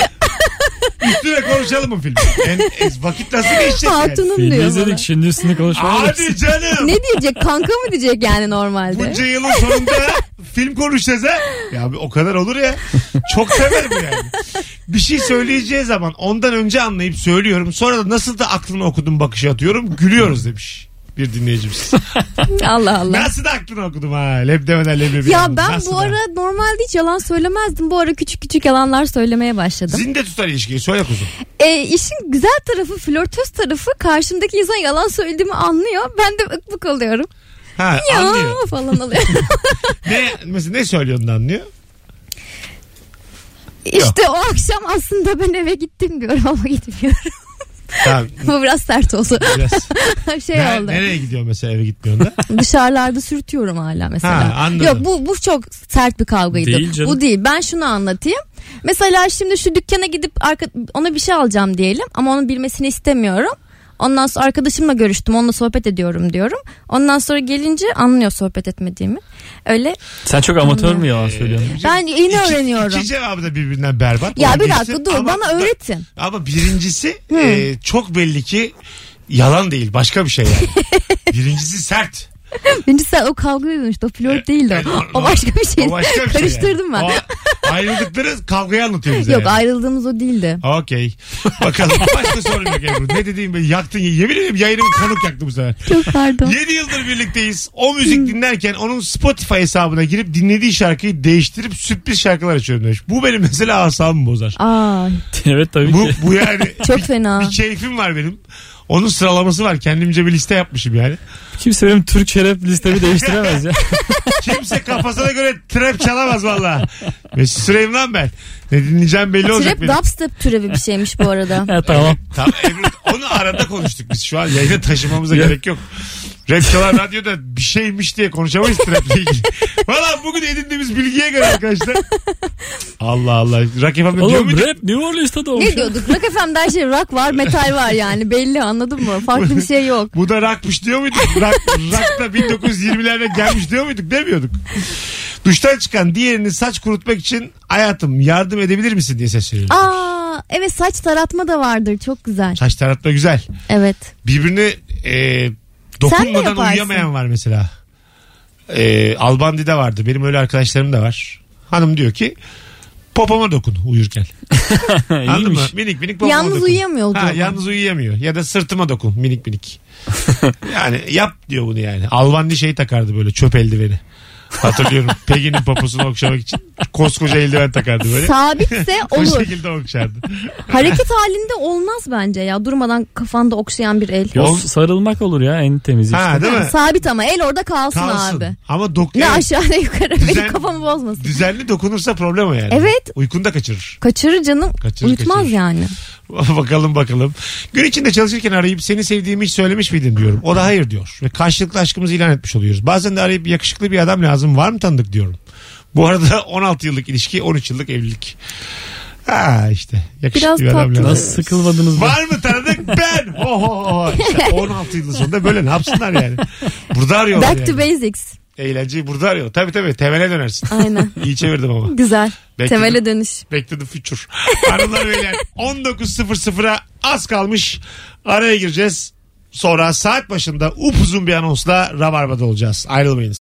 [SPEAKER 2] Üstüne konuşalım mı filmi? Yani, e, vakit nasıl geçecek yani?
[SPEAKER 3] Hatunum
[SPEAKER 4] Filmi
[SPEAKER 3] diyor
[SPEAKER 4] izledik
[SPEAKER 3] bana.
[SPEAKER 4] şimdi üstüne konuşmamız.
[SPEAKER 2] Hadi canım.
[SPEAKER 3] Ne diyecek? Kanka mı diyecek yani normalde?
[SPEAKER 2] Bunca yılın sonunda film konuşacağız ha. Ya abi o kadar olur ya. Çok sever bu yani. Bir şey söyleyeceği zaman ondan önce anlayıp söylüyorum. Sonra da nasıl da aklını okudum bakışı atıyorum. Gülüyoruz demiş bir dinleyicimiz.
[SPEAKER 3] Allah Allah.
[SPEAKER 2] Nasıl da aklını okudum ha. Leb demeden leblebi.
[SPEAKER 3] Ya
[SPEAKER 2] yapmadım.
[SPEAKER 3] ben
[SPEAKER 2] Nasıl
[SPEAKER 3] bu
[SPEAKER 2] da?
[SPEAKER 3] ara normalde hiç yalan söylemezdim. Bu ara küçük küçük yalanlar söylemeye başladım.
[SPEAKER 2] Zinde tutar ilişkiyi. Söyle kuzum.
[SPEAKER 3] E, işin güzel tarafı, flörtöz tarafı karşımdaki insan yalan söylediğimi anlıyor. Ben de bık bık oluyorum.
[SPEAKER 2] Ha
[SPEAKER 3] Ya
[SPEAKER 2] anlıyor.
[SPEAKER 3] falan oluyor.
[SPEAKER 2] Ne, mesela ne söylüyorsun da anlıyor?
[SPEAKER 3] işte o akşam aslında ben eve gittim diyorum ama gitmiyorum.
[SPEAKER 2] Tamam.
[SPEAKER 3] bu biraz sert oldu.
[SPEAKER 2] Biraz.
[SPEAKER 3] şey
[SPEAKER 2] Ne-
[SPEAKER 3] oldu.
[SPEAKER 2] nereye gidiyor mesela eve gitmiyorsun da?
[SPEAKER 3] Dışarılarda sürtüyorum hala mesela.
[SPEAKER 2] Ha, anladım.
[SPEAKER 3] Yok bu bu çok sert bir kavgaydı.
[SPEAKER 4] Değil canım.
[SPEAKER 3] Bu değil. Ben şunu anlatayım. Mesela şimdi şu dükkana gidip arka, ona bir şey alacağım diyelim ama onun bilmesini istemiyorum. Ondan sonra arkadaşımla görüştüm. Onunla sohbet ediyorum diyorum. Ondan sonra gelince anlıyor sohbet etmediğimi. Öyle.
[SPEAKER 4] Sen çok amatör mü yalan söylüyorsun?
[SPEAKER 3] Ben yeni
[SPEAKER 2] İki-
[SPEAKER 3] öğreniyorum.
[SPEAKER 2] İki cevabı da birbirinden berbat.
[SPEAKER 3] ya
[SPEAKER 2] Onu
[SPEAKER 3] bir
[SPEAKER 2] geçtim.
[SPEAKER 3] dakika dur
[SPEAKER 2] Ama-
[SPEAKER 3] bana öğretin.
[SPEAKER 2] Ama birincisi e, çok belli ki yalan değil başka bir şey yani. birincisi sert.
[SPEAKER 3] Bence sen o kavga dedin işte o flört değildi o.
[SPEAKER 2] Yani
[SPEAKER 3] O başka bir şey.
[SPEAKER 2] O başka bir şey
[SPEAKER 3] Karıştırdım
[SPEAKER 2] yani.
[SPEAKER 3] ben.
[SPEAKER 2] O ayrıldıkları kavgayı anlatıyor bize.
[SPEAKER 3] Yok
[SPEAKER 2] yani.
[SPEAKER 3] ayrıldığımız o değildi.
[SPEAKER 2] Okey. Bakalım başka sorun yok Ebru. Ne dediğim ben yaktın. Yemin ederim yayınımı kanık yaktı bu sefer.
[SPEAKER 3] Çok pardon.
[SPEAKER 2] 7 yıldır birlikteyiz. O müzik dinlerken onun Spotify hesabına girip dinlediği şarkıyı değiştirip sürpriz şarkılar açıyorum demiş. Bu benim mesela asabımı bozar.
[SPEAKER 3] Aa,
[SPEAKER 4] evet tabii
[SPEAKER 2] Bu,
[SPEAKER 4] ki.
[SPEAKER 2] bu yani
[SPEAKER 3] çok fena.
[SPEAKER 2] bir keyfim var benim. Onun sıralaması var. Kendimce bir liste yapmışım yani.
[SPEAKER 4] Kimse benim Türkçe rap listemi değiştiremez ya.
[SPEAKER 2] Kimse kafasına göre trap çalamaz valla. Ve süreyim lan ben. Ne dinleyeceğim belli olacak
[SPEAKER 3] Trap
[SPEAKER 2] benim.
[SPEAKER 3] dubstep türevi bir şeymiş bu arada.
[SPEAKER 4] Ha, tamam.
[SPEAKER 2] Tam, evet, onu arada konuştuk biz şu an. Yayına taşımamıza gerek yok. Rap çalan radyoda bir şeymiş diye konuşamayız traple ilgili. Valla bugün edindiğimiz bilgiye göre arkadaşlar. Allah Allah. Rakip abi diyor
[SPEAKER 4] Oğlum
[SPEAKER 2] muydu?
[SPEAKER 4] rap New Orleans'ta da olmuş.
[SPEAKER 3] Ne diyorduk? Rock FM'de her şey rock var, metal var yani. Belli anladın mı? Farklı bir şey yok.
[SPEAKER 2] Bu da rakmış diyor muyduk? Rak, rak da 1920'lerde gelmiş diyor muyduk? Demiyorduk. Duştan çıkan diğerini saç kurutmak için hayatım yardım edebilir misin diye sesleniyorum.
[SPEAKER 3] Aa, evet saç taratma da vardır. Çok güzel.
[SPEAKER 2] Saç taratma güzel.
[SPEAKER 3] Evet.
[SPEAKER 2] birbirine e,
[SPEAKER 3] Sen de
[SPEAKER 2] dokunmadan
[SPEAKER 3] yaparsın.
[SPEAKER 2] uyuyamayan var mesela. E, Albandi'de vardı. Benim öyle arkadaşlarım da var. Hanım diyor ki popoma dokun uyurken. Anladın mı?
[SPEAKER 4] İyiymiş.
[SPEAKER 2] Minik minik popoma
[SPEAKER 3] Yalnız
[SPEAKER 2] dokun.
[SPEAKER 3] uyuyamıyor o
[SPEAKER 2] Ha,
[SPEAKER 3] zaman.
[SPEAKER 2] yalnız uyuyamıyor. Ya da sırtıma dokun minik minik. yani yap diyor bunu yani. Albandi şey takardı böyle çöp eldiveni. Hatırlıyorum. Pegin'in poposunu okşamak için koskoca eldiven takardı böyle. şey
[SPEAKER 3] Sabitse
[SPEAKER 2] O
[SPEAKER 3] olur.
[SPEAKER 2] şekilde okşardı.
[SPEAKER 3] Hareket halinde olmaz bence ya. Durmadan kafanda okşayan bir el.
[SPEAKER 4] Yo,
[SPEAKER 2] Oğlum-
[SPEAKER 4] sarılmak olur ya en temiz işte.
[SPEAKER 2] Ha değil mi?
[SPEAKER 3] Sabit ama el orada kalsın,
[SPEAKER 2] Kalsın.
[SPEAKER 3] abi.
[SPEAKER 2] Ama dok
[SPEAKER 3] Ne
[SPEAKER 2] evet.
[SPEAKER 3] aşağı ne yukarı.
[SPEAKER 2] Düzen-
[SPEAKER 3] Benim kafamı bozmasın.
[SPEAKER 2] Düzenli dokunursa problem o yani.
[SPEAKER 3] Evet.
[SPEAKER 2] Uykunu da kaçırır.
[SPEAKER 3] Kaçırır canım.
[SPEAKER 2] Kaçırır,
[SPEAKER 3] Uyutmaz
[SPEAKER 2] kaçırır.
[SPEAKER 3] yani.
[SPEAKER 2] bakalım bakalım. Gün içinde çalışırken arayıp seni sevdiğimi hiç söylemiş miydin diyorum. O da hayır diyor. Ve karşılıklı aşkımızı ilan etmiş oluyoruz. Bazen de arayıp yakışıklı bir adam lazım var mı tanıdık diyorum. Bu arada 16 yıllık ilişki 13 yıllık evlilik. Ha işte yakışıklı
[SPEAKER 3] Biraz
[SPEAKER 2] bir adam
[SPEAKER 3] tatlı.
[SPEAKER 2] lazım.
[SPEAKER 4] Nasıl sıkılmadınız mı?
[SPEAKER 2] Var mı tanıdık ben? Ho ho ho. İşte 16 yılın sonunda böyle ne yapsınlar yani? Burada arıyorlar
[SPEAKER 3] Back to
[SPEAKER 2] yani.
[SPEAKER 3] basics.
[SPEAKER 2] Eğlenceyi burada arıyor. Tabii tabii temele dönersin.
[SPEAKER 3] Aynen.
[SPEAKER 2] İyi çevirdim ama.
[SPEAKER 3] Güzel.
[SPEAKER 2] Bekledim.
[SPEAKER 3] Temele dönüş.
[SPEAKER 2] Back to the future. Hanımlar beyler 19.00'a az kalmış. Araya gireceğiz. Sonra saat başında upuzun bir anonsla Rabarba'da olacağız. Ayrılmayınız.